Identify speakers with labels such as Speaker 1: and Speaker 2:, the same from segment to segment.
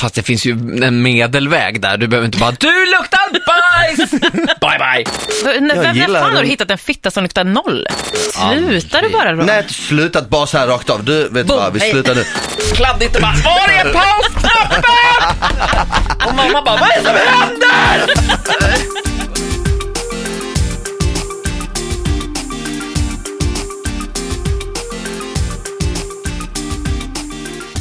Speaker 1: Fast det finns ju en medelväg där. Du behöver inte bara du luktar bajs! bye bye!
Speaker 2: Vem, vem
Speaker 3: gillar
Speaker 2: fan har
Speaker 3: det.
Speaker 2: du hittat en fitta som luktar noll? Slutar du bara Robin?
Speaker 3: Nej, inte slutat bara så här rakt av. Du, vet du
Speaker 2: Boom.
Speaker 3: vad, vi
Speaker 2: Hej.
Speaker 3: slutar nu.
Speaker 1: Kladdigt och bara var är pausknappen? och mamma bara vad är det som händer?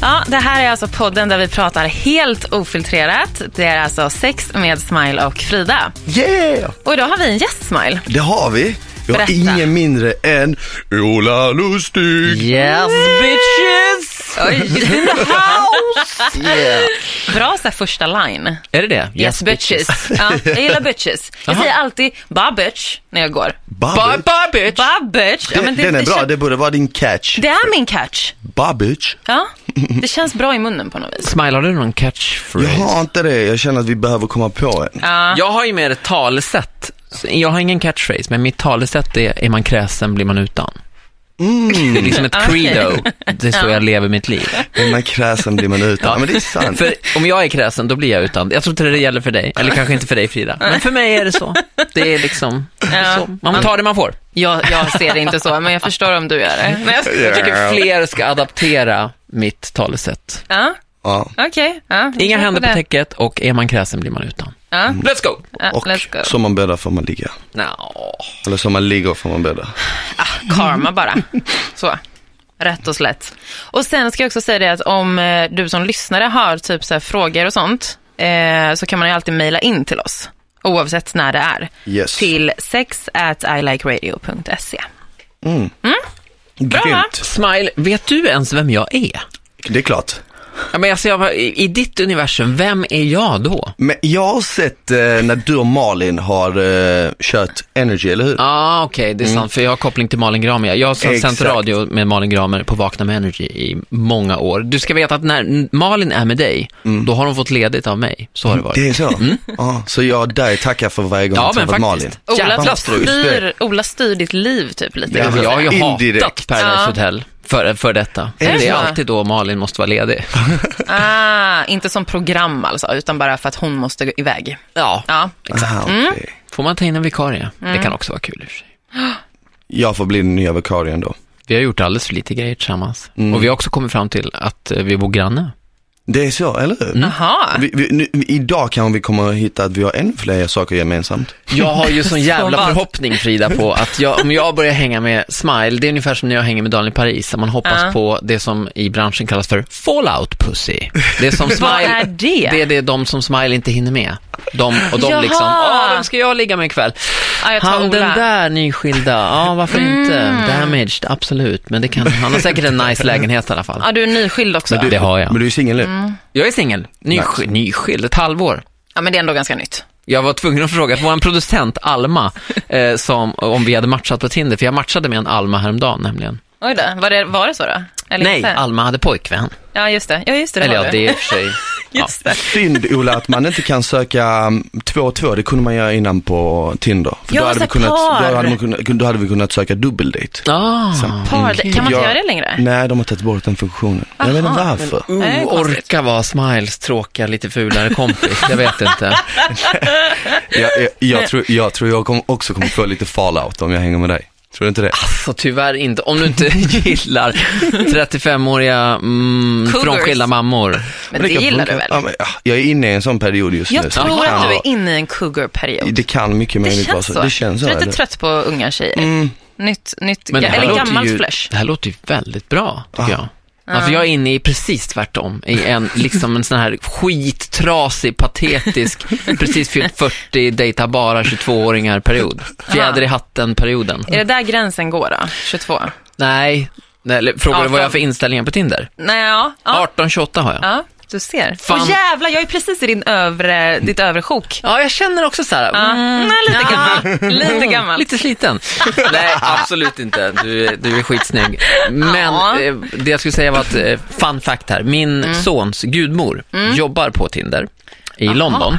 Speaker 2: Ja, det här är alltså podden där vi pratar helt ofiltrerat. Det är alltså sex med Smile och Frida.
Speaker 3: Yeah!
Speaker 2: Och idag har vi en gäst Smile.
Speaker 3: Det har vi. Vi har
Speaker 2: Berätta.
Speaker 3: ingen mindre än Ola Lustig.
Speaker 1: Yes bitches!
Speaker 3: Yeah.
Speaker 2: Bra så här första line.
Speaker 1: Är det det?
Speaker 2: Yes, bitches. Ja, jag gillar bitches. Jag säger alltid ba bitch när jag går.
Speaker 1: Bye
Speaker 3: Babbage.
Speaker 1: bye bitch!
Speaker 2: Ba bitch. Ja, men det,
Speaker 3: Den är
Speaker 2: det
Speaker 3: bra,
Speaker 2: kän-
Speaker 3: det borde vara din catch.
Speaker 2: det är min catch.
Speaker 3: Babbage.
Speaker 2: Ja, det känns bra i munnen på något vis.
Speaker 1: Smile, har du någon
Speaker 3: Jag
Speaker 1: catchphrase?
Speaker 3: har inte det, jag känner att vi behöver komma på en.
Speaker 2: Ja.
Speaker 1: Jag har ju mer ett talesätt. Så Jag har ingen catchphrase, men mitt talesätt är är man kräsen blir man utan. Det är liksom ett
Speaker 2: Okej.
Speaker 1: credo. Det är så jag lever mitt liv.
Speaker 3: Är man kräsen blir man utan. Ja. Men det är sant.
Speaker 1: För om jag är kräsen, då blir jag utan. Jag tror inte det gäller för dig, eller kanske inte för dig Frida. Men för mig är det så. Det är liksom, så. man tar det man får.
Speaker 2: Jag, jag ser det inte så, men jag förstår om du gör det. Men jag,
Speaker 1: Jag tycker fler ska adaptera mitt talesätt.
Speaker 2: ja,
Speaker 3: Ja.
Speaker 2: okej. Ja, vi
Speaker 1: Inga
Speaker 2: kör
Speaker 1: händer på Mm.
Speaker 2: det.
Speaker 1: täcket och är man kräsen blir man utan.
Speaker 2: Ja.
Speaker 1: Let's go!
Speaker 2: Ja,
Speaker 3: Och
Speaker 2: let's go.
Speaker 3: som man bäddar får man ligga.
Speaker 1: No.
Speaker 3: Eller som man ligger får man bädda.
Speaker 2: karma bara. Så. Rätt och slätt. Och sen ska jag också säga det att om eh, du som lyssnare har typ så här frågor och sånt, eh, så kan man ju alltid mejla in till oss. Oavsett när det är.
Speaker 3: Yes.
Speaker 2: Till sex at ilikeradio.se.
Speaker 3: Grymt.
Speaker 1: Smile, vet du ens vem jag är?
Speaker 3: Det är klart.
Speaker 1: Ja, men alltså, jag var, i, I ditt universum, vem är jag då?
Speaker 3: Men jag har sett eh, när du och Malin har eh, kört Energy, eller hur?
Speaker 1: Ja, ah, okej, det är sant, för jag har koppling till Malin Gramer. Jag har sen- sänt
Speaker 3: Exakt.
Speaker 1: radio med Malin Gramer på Vakna med Energy i många år. Du ska veta att när n- Malin är med dig, då har hon fått ledigt av mig. Så har det varit.
Speaker 3: Det är så? Ja, Mm. så jag där tackar för varje gång
Speaker 1: Ja,
Speaker 3: jag
Speaker 1: men
Speaker 3: träffat
Speaker 1: faktiskt.
Speaker 3: Malin.
Speaker 2: Ola
Speaker 1: Jävla strul.
Speaker 2: styr, Ola styr ditt liv typ lite.
Speaker 1: Ja,
Speaker 2: kan man
Speaker 1: Alltså, jag har ju
Speaker 2: säga.
Speaker 3: Indirekt.
Speaker 1: hatat Paradise
Speaker 2: Ja.
Speaker 1: Hotel för, för detta.
Speaker 2: det
Speaker 1: det är
Speaker 2: så?
Speaker 1: alltid då Malin måste vara ledig.
Speaker 2: Ah, inte som program alltså, utan bara för att hon måste gå iväg.
Speaker 1: Ja,
Speaker 2: Ja,
Speaker 3: Aha, Ah, okej.
Speaker 1: får man ta in en vikarie? Det kan också vara kul i och för sig.
Speaker 3: Jag får bli den nya vikarien då.
Speaker 1: Vi har gjort alldeles för lite grejer tillsammans. Och vi har också kommit fram till att eh, vi bor granne.
Speaker 3: Det är så, eller hur?
Speaker 2: jaha.
Speaker 3: Vi, vi, nu, idag kan vi komma att hitta att vi har ännu fler saker gemensamt.
Speaker 1: Jag har ju sån jävla
Speaker 2: vad?
Speaker 1: förhoppning Frida på att jag, om jag börjar hänga med Smile, det är ungefär som när jag hänger med Daniel Paris, där man hoppas
Speaker 2: Ja.
Speaker 1: på det som i branschen kallas för fallout pussy. Det är som Smile,
Speaker 2: är det?
Speaker 1: det är det de som Smile inte hinner med. De, och de
Speaker 2: Jaha.
Speaker 1: liksom, åh vem ska jag ligga med ikväll?
Speaker 2: Ja, jag tar
Speaker 1: han
Speaker 2: Ola. Mm.
Speaker 1: den där nyskilda, ja varför inte? Damaged, absolut, men det kan, han har säkert en nice lägenhet i alla fall.
Speaker 2: Ja, du är nyskild också.
Speaker 1: det har jag.
Speaker 3: Men du är singel nu?
Speaker 1: Jag är singel, Nysk- nyskild, ett halvår.
Speaker 2: Ja, men det är ändå ganska nytt.
Speaker 1: Jag var tvungen att fråga vår producent Alma eh, som, om vi hade matchat på Tinder, för jag matchade med en Alma häromdagen nämligen.
Speaker 2: Oj då, var det, var det så då? Eller
Speaker 1: Nej,
Speaker 2: inte?
Speaker 1: Alma hade pojkvän.
Speaker 2: Ja, just det. Ja, just det. det
Speaker 1: Eller
Speaker 2: var
Speaker 1: ja, det är i och för sig. Ja.
Speaker 2: Just det.
Speaker 3: Synd Ola att man inte kan söka mm, två och två, det kunde man göra innan på Tinder. För
Speaker 2: Ja,
Speaker 3: då, hade
Speaker 2: så
Speaker 3: vi kunnat,
Speaker 2: par.
Speaker 3: då, hade man kunnat, då hade vi kunnat söka dubbeldate.
Speaker 1: Ah,
Speaker 2: Par, Kan man inte
Speaker 3: Jag-
Speaker 2: göra det längre?
Speaker 3: Nej, de har tagit bort den funktionen. Jag vet inte varför.
Speaker 2: det är
Speaker 1: oh,
Speaker 2: konstigt.
Speaker 1: orka vara Smiles tråkiga, lite fulare kompis. Jag vet inte.
Speaker 3: Jag, jag, jag, tror, jag tror jag kom, också kommer få lite fallout om jag hänger med dig. Tror du inte det?
Speaker 1: Så Alltså, tyvärr inte, om du inte gillar 35-åriga mm,
Speaker 2: Cougars.
Speaker 1: frånskilda mammor.
Speaker 2: Men det
Speaker 3: kan
Speaker 2: gillar du
Speaker 3: funka.
Speaker 2: väl?
Speaker 3: Ja, men, ah, jag är inne i en sån period just nu.
Speaker 2: Jag
Speaker 3: så det
Speaker 2: tror
Speaker 3: kan
Speaker 2: att du
Speaker 3: vara-
Speaker 2: är inne i en cougar-period.
Speaker 3: Det kan mycket
Speaker 2: Det
Speaker 3: möjligt vara
Speaker 2: känns
Speaker 3: så.
Speaker 2: så.
Speaker 3: Det känns så.
Speaker 2: du är lite
Speaker 3: eller?
Speaker 2: trött på unga tjejer. Nytt, nytt,
Speaker 1: Men det här,
Speaker 2: eller
Speaker 1: låter
Speaker 2: gammalt
Speaker 1: ju,
Speaker 2: flash.
Speaker 1: det här låter ju väldigt bra, tycker jag. Ja, för jag är inne i precis tvärtom, i en, liksom en sån här skittrasig, patetisk, precis fyllt 40, dejta bara 22-åringar period. Fjäder i hatten perioden.
Speaker 2: Är det där gränsen går då? 22?
Speaker 1: Nej, nej eller, frågar du vad jag har
Speaker 2: 18.
Speaker 1: för inställningar på Tinder?
Speaker 2: Nej, ja. Ja,
Speaker 1: 18-28 har jag.
Speaker 2: ja du ser.
Speaker 1: Fan.
Speaker 2: Åh jävlar, jag är precis i din övre, ditt övre sjok.
Speaker 1: Ja, jag känner också så här,
Speaker 2: Ja.
Speaker 1: mm,
Speaker 2: Nej, lite gammalt. Lite gammalt.
Speaker 1: Lite sliten. Nej, absolut inte. Du, är- du är skitsnygg. Men
Speaker 2: Ja.
Speaker 1: eh, det jag skulle säga var att, eh, fun fact här, min sons gudmor jobbar på Tinder. i London.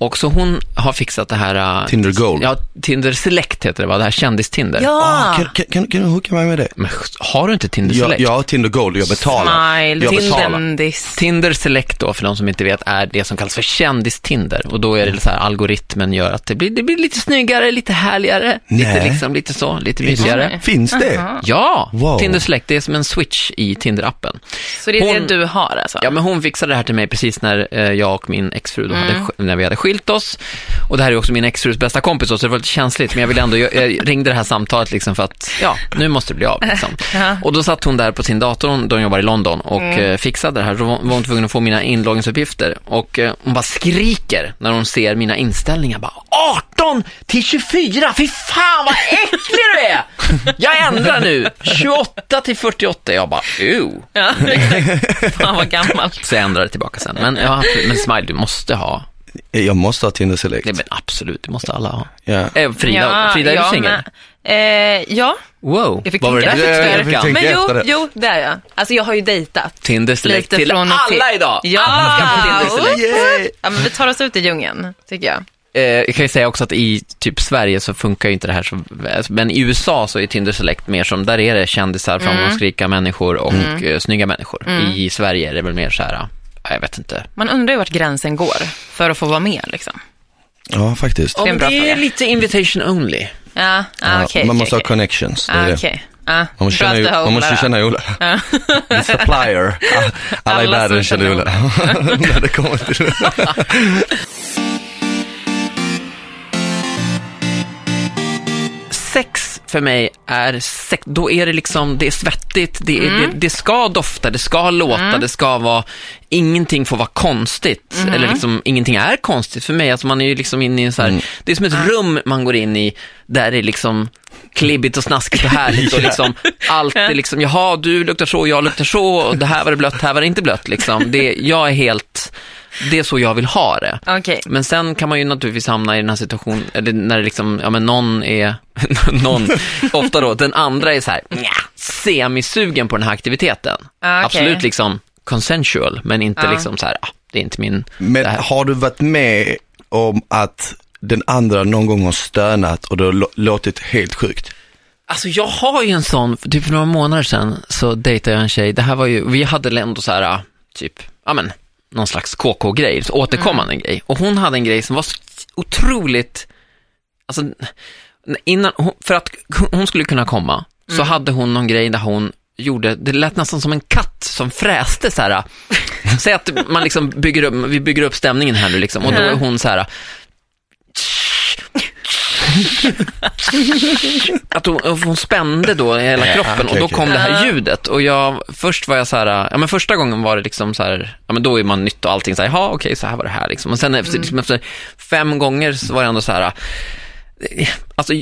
Speaker 1: Och så hon har fixat det här... eh,
Speaker 3: Tinder Gold.
Speaker 1: Ja, Tinder Select heter det va? Det här kändistinder.
Speaker 3: Ah,
Speaker 4: Ja!
Speaker 3: kan, kan, kan, kan du hooka mig med det?
Speaker 1: Men har du inte Tinder
Speaker 3: Jag,
Speaker 1: Select?
Speaker 3: jag har Tinder Gold och jag betalar.
Speaker 2: Smile,
Speaker 3: jag betalar.
Speaker 2: Tindendis.
Speaker 1: Tinder Select då, för de som inte vet, är det som kallas för kändis-Tinder. Och då är
Speaker 3: Mm.
Speaker 1: det så här, algoritmen gör att det blir, det blir lite snyggare, lite härligare, lite
Speaker 3: Nej.
Speaker 1: liksom, lite så, lite mysigare.
Speaker 3: Finns det?
Speaker 2: Aha.
Speaker 1: Ja,
Speaker 3: Wow.
Speaker 1: Tinder Select, det är som en switch i Tinder-appen.
Speaker 2: Så det är
Speaker 1: Hon-
Speaker 2: det du har alltså?
Speaker 1: Ja, men hon fixade det här till mig precis när eh, jag och min exfru, då hade, sk- när vi hade skilt oss. Och det här är också min exfrus bästa kompis, då, så det var lite känsligt, men jag ville ändå, jag, jag ringde det här samtalet liksom för att, ja, nu måste det bli av liksom. Och då satt hon där på sin dator, hon, då hon jobbar i London, och eh, fixade det här. Då var var hon tvungen att få mina inloggningsuppgifter. Och eh, hon bara skriker när hon ser mina inställningar, bara 18 till 24, fy fan vad äcklig du är! Jag ändrar nu, 28 till 48, jag bara, ew.
Speaker 2: Ja, Fan vad gammalt.
Speaker 1: Så jag ändrade tillbaka sen. Men, ja, men smile, du måste ha.
Speaker 3: Jag måste ha Tinder Select.
Speaker 1: Nej men absolut, det måste alla ha.
Speaker 3: Ja.
Speaker 1: Eh, Frida, Frida är du singel?
Speaker 2: men, eh, ja,
Speaker 1: Wow,
Speaker 2: jag fick
Speaker 1: vad var det
Speaker 2: tänka
Speaker 1: där
Speaker 3: Jag
Speaker 1: för
Speaker 2: efter.
Speaker 3: fick tänka
Speaker 1: kyrka?
Speaker 2: Men
Speaker 3: efter
Speaker 2: jo,
Speaker 3: det.
Speaker 2: jo, det är jag. Alltså jag har ju dejtat.
Speaker 1: Tinder Select
Speaker 2: Lite
Speaker 1: till
Speaker 2: från och till.
Speaker 1: alla idag!
Speaker 2: Ja.
Speaker 1: Alla ska på Tinder Select.
Speaker 3: Yay!
Speaker 2: Ja, men vi tar oss ut i djungeln, tycker jag.
Speaker 1: Eh, jag kan ju säga också att i typ Sverige så funkar ju inte det här så väl. Men i USA så är Tinder Select mer som, där är det kändisar,
Speaker 2: Mm.
Speaker 1: framgångsrika människor och eh, snygga människor. I Sverige är det väl mer så här, ja, jag vet inte.
Speaker 2: Man undrar ju vart gränsen går för att få vara med liksom.
Speaker 3: Ja, faktiskt.
Speaker 2: Det är en bra
Speaker 1: det är
Speaker 2: fråga.
Speaker 1: lite invitation only.
Speaker 2: Ja, ja,
Speaker 3: Ja,
Speaker 2: ah, okej.
Speaker 3: man
Speaker 2: okej,
Speaker 3: måste
Speaker 2: okej.
Speaker 3: ha connections. Det är
Speaker 2: Ah,
Speaker 3: det.
Speaker 2: okej. Ah,
Speaker 3: Man måste känna, Ola- man måste känna Ola. The supplier. Alla, i
Speaker 2: Alla som
Speaker 3: världen känner
Speaker 2: känner
Speaker 3: Ola. När det kommer till
Speaker 1: sex för mig är sex, då är det liksom, det är svettigt, det, är, det, det ska dofta, det ska låta, det ska vara, ingenting får vara konstigt. Eller liksom, ingenting är konstigt för mig. Alltså man är ju liksom inne i en så här, det är som ett rum man går in i, där det är liksom klibbigt och snaskigt och härligt och liksom allt är liksom, jaha du luktar så, jag luktar så, och det här var det blött, här var det inte blött liksom. Det, jag är helt, det är så jag vill ha det.
Speaker 2: Okej.
Speaker 1: Men sen kan man ju naturligtvis hamna i den här situationen, eller när det liksom, ja men någon är, någon, ofta då, den andra är så här, nja, semisugen på den här aktiviteten.
Speaker 2: Ah, okej.
Speaker 1: Absolut liksom consensual, men inte liksom så här, ah, det är inte min,
Speaker 3: Men
Speaker 1: det här.
Speaker 3: har du varit med om att den andra någon gång har stönat och det har lå- låtit helt sjukt?
Speaker 1: Alltså jag har ju en sån, för typ för några månader sedan så dejtade jag en tjej, det här var ju, vi hade väl ändå så här, ah, typ, ja men, någon slags KK-grej, så återkommande
Speaker 2: Mm.
Speaker 1: grej. Och hon hade en grej som var så otroligt, alltså, innan, hon- för att hon skulle kunna komma, så hade hon någon grej där hon gjorde, det lät nästan som en katt som fräste så här. Säg att man liksom bygger upp, vi bygger upp stämningen här nu liksom, och då är hon så här, att hon, hon spände då i hela kroppen
Speaker 3: okej,
Speaker 1: och då
Speaker 3: okej.
Speaker 1: kom det här ljudet. Och jag, först var jag så här, ja men första gången var det liksom så här, ja men då är man nytt och allting så här, ja okej så här var det här liksom. Och sen efter, liksom, efter fem gånger så var det ändå så här, eh, alltså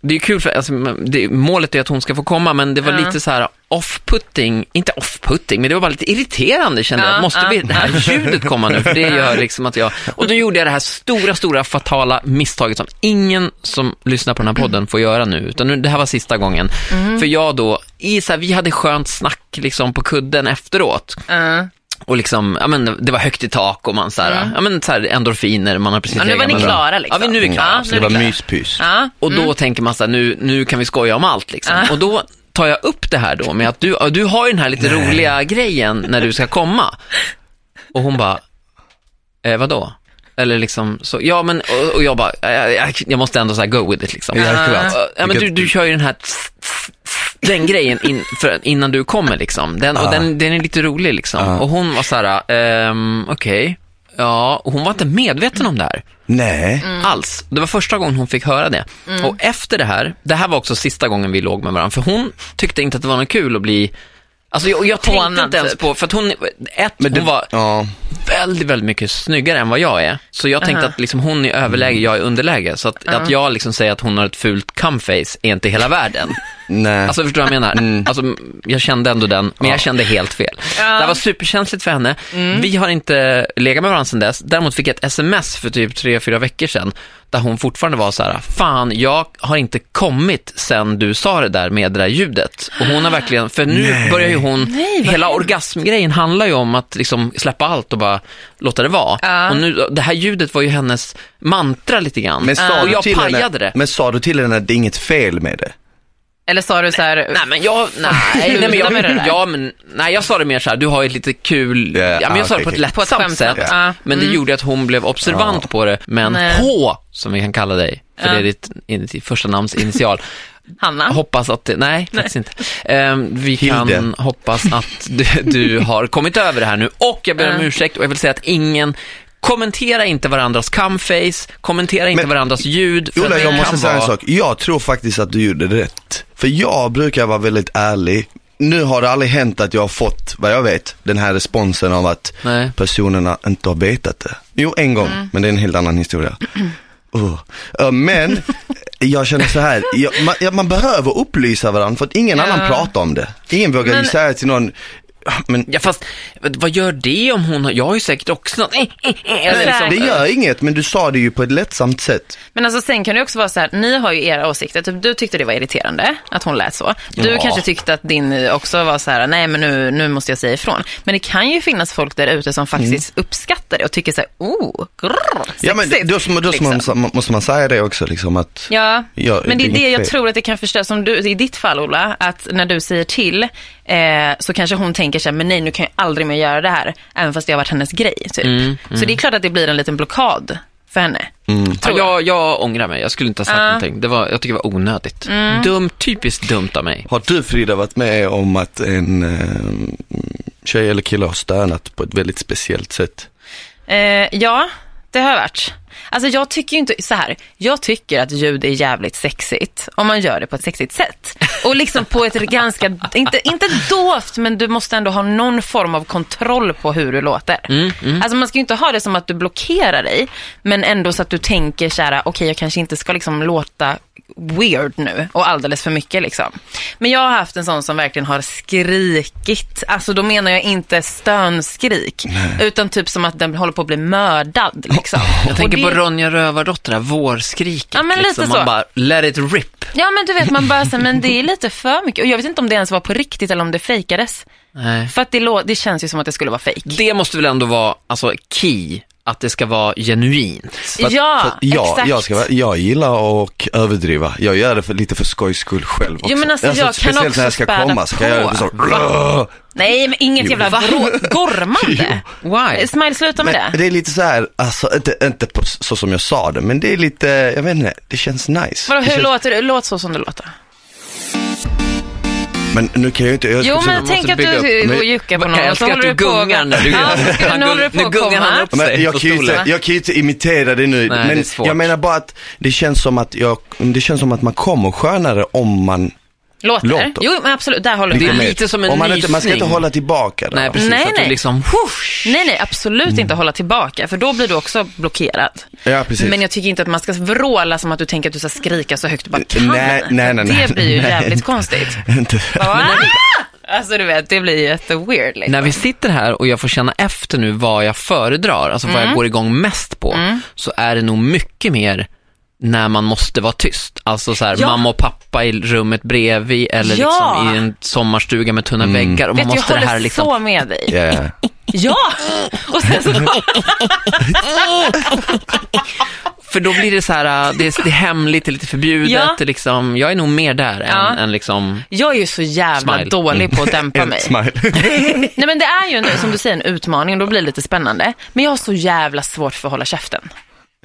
Speaker 1: det är kul för, alltså, det, målet är att hon ska få komma, men det var lite så här off-putting, inte off-putting, men det var bara lite irriterande kände jag.
Speaker 2: Ja,
Speaker 1: Måste
Speaker 2: ja,
Speaker 1: vi, det här ljudet komma nu? För det gör liksom att jag, och då gjorde jag det här stora, stora fatala misstaget som ingen som lyssnar på den här podden får göra nu, utan nu, det här var sista gången.
Speaker 2: Mhm.
Speaker 1: För jag då, i så här, vi hade skönt snack liksom på kudden efteråt,
Speaker 2: Ja.
Speaker 1: och liksom, ja men det var högt i tak och man så här, ja men så här endorfiner, man har precis
Speaker 2: Mm. Ja, nu var
Speaker 1: legat
Speaker 2: ni
Speaker 1: med-
Speaker 2: klara, liksom.
Speaker 1: Ja, men nu är vi klara.
Speaker 2: Ja, nu
Speaker 3: Så det
Speaker 2: är
Speaker 3: var
Speaker 2: det klart.
Speaker 3: myspys.
Speaker 2: Ja.
Speaker 1: Och då tänker man så här, nu, nu kan vi skoja om allt liksom. Och då tar jag upp det här då med att du, ja, du har ju den här lite roliga grejen när du ska komma. Och hon bara, eh, vadå? Eller liksom, så, ja men, och, och jag bara, eh, jag, jag måste ändå så här go with it liksom.
Speaker 3: Ja, det är klart.
Speaker 1: Och, ja, men du, du kör ju den här, tss, tss, tss, den grejen in, för, innan du kommer liksom. Den, och den, den är lite rolig liksom. Och hon var så här, ehm, okej, ja, och hon var inte medveten om det här
Speaker 3: Nej.
Speaker 2: Mm.
Speaker 1: alls. Det var första gången hon fick höra det. Och efter det här, det här var också sista gången vi låg med varandra, för hon tyckte inte att det var något kul att bli Alltså jag, jag tänkte
Speaker 2: Hånad,
Speaker 1: inte ens
Speaker 2: typ.
Speaker 1: på, för att hon, ett,
Speaker 3: det-
Speaker 1: hon var
Speaker 3: Ja.
Speaker 1: väldigt, väldigt mycket snyggare än vad jag är. Så jag tänkte att liksom hon är överläge, jag är underläge. Så att, att jag liksom säger att hon har ett fult comeface är inte hela världen.
Speaker 3: Nej.
Speaker 1: Alltså förstår du vad jag menar?
Speaker 3: Mm.
Speaker 1: Alltså, jag kände ändå den, men jag kände helt fel. Det här var superkänsligt för henne.
Speaker 2: Mm.
Speaker 1: Vi har inte legat med varandra sedan dess. Däremot fick jag ett sms för typ tre fyra veckor sedan där hon fortfarande var så här, fan jag har inte kommit sen du sa det där med det där ljudet. Och hon har verkligen, för nu börjar ju hon,
Speaker 2: Nej, vad
Speaker 1: hela orgasmgrejen handlar ju om att liksom släppa allt och bara låta det vara.
Speaker 2: Ja.
Speaker 1: Och nu, det här ljudet var ju hennes mantra lite grann.
Speaker 3: men sa,
Speaker 1: och
Speaker 3: du
Speaker 1: eh, jag
Speaker 3: till henne,
Speaker 1: pajade det.
Speaker 3: men sa du till henne att det är inget fel med det?
Speaker 2: Eller sa du så här,
Speaker 1: Nej men jag, nej, nej men
Speaker 2: Sluta med det där.
Speaker 1: jag, ja, men, nej jag sa det mer så här, du har ju ett lite kul,
Speaker 3: Ja,
Speaker 1: ja, men
Speaker 3: ah,
Speaker 1: jag sa det
Speaker 3: okej,
Speaker 1: på ett
Speaker 3: okej.
Speaker 2: På ett
Speaker 1: lättsamt
Speaker 2: skämt,
Speaker 1: sätt.
Speaker 2: ja. Mm.
Speaker 1: Men det gjorde att hon blev observant på det. Men
Speaker 2: Nej.
Speaker 1: H, som vi kan kalla dig, för
Speaker 2: Ja.
Speaker 1: det är ditt, in, ditt första namns initial.
Speaker 2: Hanna?
Speaker 1: Jag Hoppas att det, nej, faktiskt inte. Ehm, vi
Speaker 3: Hilde.
Speaker 1: kan hoppas att du, du har kommit över det här nu. Och jag ber om
Speaker 2: Ja.
Speaker 1: ursäkt och jag vill säga att ingen Kommentera inte varandras comeface, kommentera inte
Speaker 3: Men-
Speaker 1: varandras ljud. för att
Speaker 3: Ola,
Speaker 1: det
Speaker 3: jag
Speaker 1: kan
Speaker 3: måste säga en
Speaker 1: vara-
Speaker 3: sak. Jag tror faktiskt att du gjorde rätt. För jag brukar vara väldigt ärlig. Nu har det aldrig hänt att jag har fått, vad jag vet, den här responsen av att
Speaker 1: Nej.
Speaker 3: personerna inte har vetat det. Jo, en gång,
Speaker 2: Mm.
Speaker 3: men det är en helt annan historia. Oh. Eh, Men jag känner så här, jag, man, ja, man behöver upplysa varandra för att ingen
Speaker 2: Ja.
Speaker 3: annan pratar om det. Ingen vågar
Speaker 2: Men-
Speaker 3: ju säga till någon, "Ah, men
Speaker 1: Ja fast, vad gör det om hon har, jag har ju säkert också något, eh, eh, eh, eller
Speaker 2: Nej,
Speaker 1: liksom.
Speaker 3: det gör inget, men du sa det ju på ett lättsamt sätt.
Speaker 2: Men alltså sen kan det också vara så här, ni har ju era åsikter. Typ, du tyckte det var irriterande att hon lät så. Du
Speaker 3: Ja.
Speaker 2: kanske tyckte att din också var så här, nej men nu, nu måste jag säga ifrån. Men det kan ju finnas folk där ute som faktiskt uppskattar det och tycker så här, oh, grrr, sexigt.
Speaker 3: Mm. Ja men då, då, då
Speaker 2: liksom.
Speaker 3: måste, man, måste man säga det också liksom att
Speaker 2: Ja,
Speaker 3: Ja,
Speaker 2: men det är
Speaker 3: det är
Speaker 2: det jag
Speaker 3: fel.
Speaker 2: tror att det kan förstöra. Som du, i ditt fall Ola, att när du säger till eh, så kanske hon tänker så här, men nej nu kan jag aldrig mer göra det här. Även fast det har varit hennes grej typ.
Speaker 3: Mm,
Speaker 2: Så det är klart att det blir en liten blockad för henne.
Speaker 1: Ja, jag, jag ångrar mig, jag skulle inte ha sagt någonting. Det var, jag tycker det var onödigt. Dumt, typiskt dumt av mig.
Speaker 3: Har du Frida varit med om att en eh, tjej eller kille har stönat på ett väldigt speciellt sätt?
Speaker 2: Eh, ja, det har jag varit. Alltså jag tycker ju inte, så här, jag tycker att ljud är jävligt sexigt om man gör det på ett sexigt sätt. Och liksom på ett ganska, inte, inte dovt men du måste ändå ha någon form av kontroll på hur du låter. Alltså man ska ju inte ha det som att du blockerar dig men ändå så att du tänker så här, okej jag kanske inte ska liksom låta weird nu och alldeles för mycket liksom. Men jag har haft en sån som verkligen har skrikit. Alltså då menar jag inte stönskrik utan typ som att den håller på att bli mördad liksom.
Speaker 1: Jag tänker
Speaker 2: det-
Speaker 1: på Ronja Rövardotter, det här vårskriket. liksom.
Speaker 2: Ja, men lite
Speaker 1: Man
Speaker 2: så.
Speaker 1: bara, let it rip.
Speaker 2: Ja men du vet man bara säger men det är lite för mycket. Och jag vet inte om det ens var på riktigt eller om det fejkades.
Speaker 1: Nej.
Speaker 2: För att det, lå- det känns ju som att det skulle vara fejk.
Speaker 1: Det måste väl ändå vara, alltså key, att det ska vara genuint.
Speaker 3: att-
Speaker 2: Ja,
Speaker 3: för att jag,
Speaker 2: exakt.
Speaker 3: jag, ska, vara- jag gillar att överdriva. Jag gör det för, lite för skojs skull själv också.
Speaker 2: Jo, men alltså, jag kan
Speaker 3: speciellt
Speaker 2: också
Speaker 3: när jag ska
Speaker 2: späda
Speaker 3: komma, ska jag
Speaker 2: på.
Speaker 3: göra det så här,
Speaker 2: Nej men inget jävla vrå- gormande.
Speaker 1: Why?
Speaker 2: Smile sluta med
Speaker 3: men
Speaker 2: det.
Speaker 3: det är lite så här, alltså inte, inte på, så som jag sa det, men det är lite, jag vet inte, det känns nice.
Speaker 2: Vadå
Speaker 3: Det
Speaker 2: hur
Speaker 3: känns,
Speaker 2: låter det? Låt så som det låter.
Speaker 3: men nu kan jag ju inte, jag
Speaker 2: Jo
Speaker 3: ska-
Speaker 2: men
Speaker 1: måste
Speaker 2: tänk att
Speaker 1: bygga upp-
Speaker 2: du går och
Speaker 3: Men-
Speaker 2: juckar på
Speaker 1: Kan
Speaker 2: någon
Speaker 1: jag
Speaker 2: och så
Speaker 1: älskar att
Speaker 2: håller
Speaker 1: du
Speaker 2: du på
Speaker 1: gungar när du
Speaker 2: ja, så ska,
Speaker 1: Han
Speaker 2: nu
Speaker 1: gung-
Speaker 2: håller du
Speaker 1: nu
Speaker 2: på att
Speaker 1: gungar han
Speaker 2: komma.
Speaker 1: upp. sig
Speaker 3: Men jag,
Speaker 1: på
Speaker 3: kan ju inte,
Speaker 1: stolen.
Speaker 3: jag kan ju inte imitera det nu,
Speaker 1: Nej, det är
Speaker 3: men
Speaker 1: svårt.
Speaker 3: jag menar bara att det känns som att jag, det känns som att man kommer skönare om man,
Speaker 2: Låter?
Speaker 3: Låter.
Speaker 2: Jo men absolut, där håller
Speaker 1: Det
Speaker 2: jag
Speaker 1: är
Speaker 2: med.
Speaker 1: lite som en
Speaker 3: om man, inte, man ska inte
Speaker 1: nysning.
Speaker 3: hålla tillbaka det.
Speaker 1: Nej, precis.
Speaker 2: Nej,
Speaker 1: att
Speaker 2: nej.
Speaker 1: du liksom, whoosh.
Speaker 2: Nej, nej, absolut inte hålla tillbaka, för då blir du också blockerad.
Speaker 3: Ja, precis.
Speaker 2: Men jag tycker inte att man ska vråla som att du tänker att du ska skrika så högt du bara kan.
Speaker 3: Nej, nej, nej, nej.
Speaker 2: det blir ju
Speaker 3: Nej.
Speaker 2: jävligt konstigt.
Speaker 3: inte.
Speaker 2: Bara, "Ah!" Alltså du vet, det blir ju jätteweird. Liksom.
Speaker 1: När vi sitter här och jag får känna efter nu vad jag föredrar, alltså
Speaker 2: Mm.
Speaker 1: vad jag går igång mest på, så är det nog mycket mer när man måste vara tyst. Alltså så här,
Speaker 2: Ja.
Speaker 1: mamma och pappa i rummet bredvid eller
Speaker 2: Ja.
Speaker 1: liksom i en sommarstuga med tunna väggar. Och man
Speaker 2: Vet, jag
Speaker 1: måste
Speaker 2: håller
Speaker 1: det här liksom...
Speaker 2: så med dig.
Speaker 3: Ja.
Speaker 2: Ja! Och sen så,
Speaker 1: För då blir det så här, äh, det är, det är hemligt, det är lite förbjudet,
Speaker 2: Ja.
Speaker 1: det är liksom, jag är nog mer där än,
Speaker 2: Ja.
Speaker 1: än liksom...
Speaker 2: jag är ju så jävla
Speaker 1: Smile.
Speaker 2: dålig på att dämpa mig.
Speaker 3: Mm. Smile.
Speaker 2: Nej men det är ju en, som du säger en utmaning och då blir det lite spännande. Men jag har så jävla svårt för att hålla käften.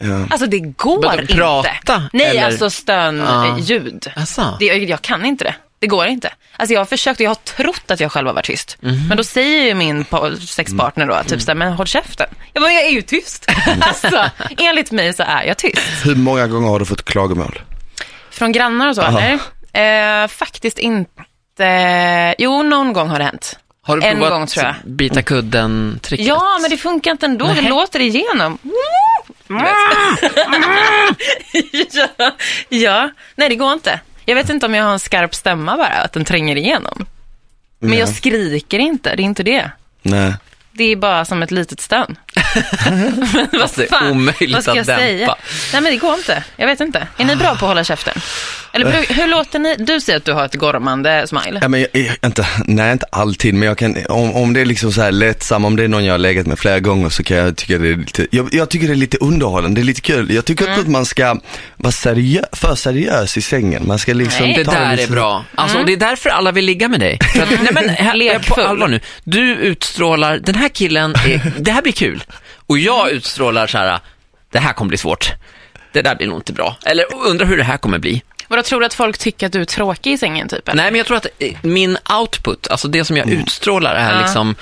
Speaker 3: Ja.
Speaker 2: Alltså det går
Speaker 1: Vadå,
Speaker 2: inte.
Speaker 1: prata,
Speaker 2: Nej,
Speaker 1: eller?
Speaker 2: alltså
Speaker 1: Ja.
Speaker 2: stönljud.
Speaker 1: Asså.
Speaker 2: Det, jag kan inte det. Det går inte. Alltså jag har försökt och jag har trott att jag själv har varit tyst.
Speaker 1: Mhm.
Speaker 2: Men då säger ju min pa- sexpartner då, typ såhär, men håll käften. Jag bara, jag är ju tyst. alltså, enligt mig så är jag tyst.
Speaker 3: Hur många gånger har du fått klagomål?
Speaker 2: Från grannar och så eller? Eh, faktiskt inte. Jo, någon gång har det hänt.
Speaker 1: Har du
Speaker 2: En
Speaker 1: provat
Speaker 2: gång, tror jag.
Speaker 1: bita kudden-tricket?
Speaker 2: Ja, men det funkar inte ändå. Det låter igenom.
Speaker 1: Mm.
Speaker 2: ja. ja, nej det går inte. Jag vet inte om jag har en skarp stämma bara, att den tränger igenom. Men jag
Speaker 3: Ja.
Speaker 2: skriker inte, det är inte det.
Speaker 3: Nej.
Speaker 2: Det är bara som ett litet stön. men vad
Speaker 1: det är omöjligt
Speaker 2: vad ska
Speaker 1: att
Speaker 2: jag
Speaker 1: dämpa.
Speaker 2: säga? Nej men det går inte. Jag vet inte. Är ni bra på att hålla käften? Eller bruk- hur låter ni? Du säger att du har ett gormande smile.
Speaker 3: Ja, men jag, jag, inte, nej, inte alltid, men jag kan, om, om det är liksom så här lättsam, om det är någon jag har legat med flera gånger så kan jag tycka det är lite, jag, jag tycker det är lite underhållande, det är lite kul. Jag tycker
Speaker 1: Mm.
Speaker 3: inte att man ska vara seriö, för seriös i sängen. Man ska liksom
Speaker 2: Nej.
Speaker 1: Det
Speaker 3: ta
Speaker 1: där är
Speaker 3: lite-
Speaker 1: bra. Alltså, och det är därför alla vill ligga med dig. För att, nej, men, här, jag på
Speaker 2: Lekfull.
Speaker 1: allvar nu. Du utstrålar, den här killen, är, det här blir kul. Och jag utstrålar så här, det här kommer bli svårt. Det där blir nog inte bra. Eller undrar hur det här kommer bli.
Speaker 2: Vadå, tror du att folk tycker att du är tråkig i sängen typ? eller?
Speaker 1: Nej, men jag tror att eh, min output, alltså det som jag
Speaker 3: Mm.
Speaker 1: utstrålar är liksom,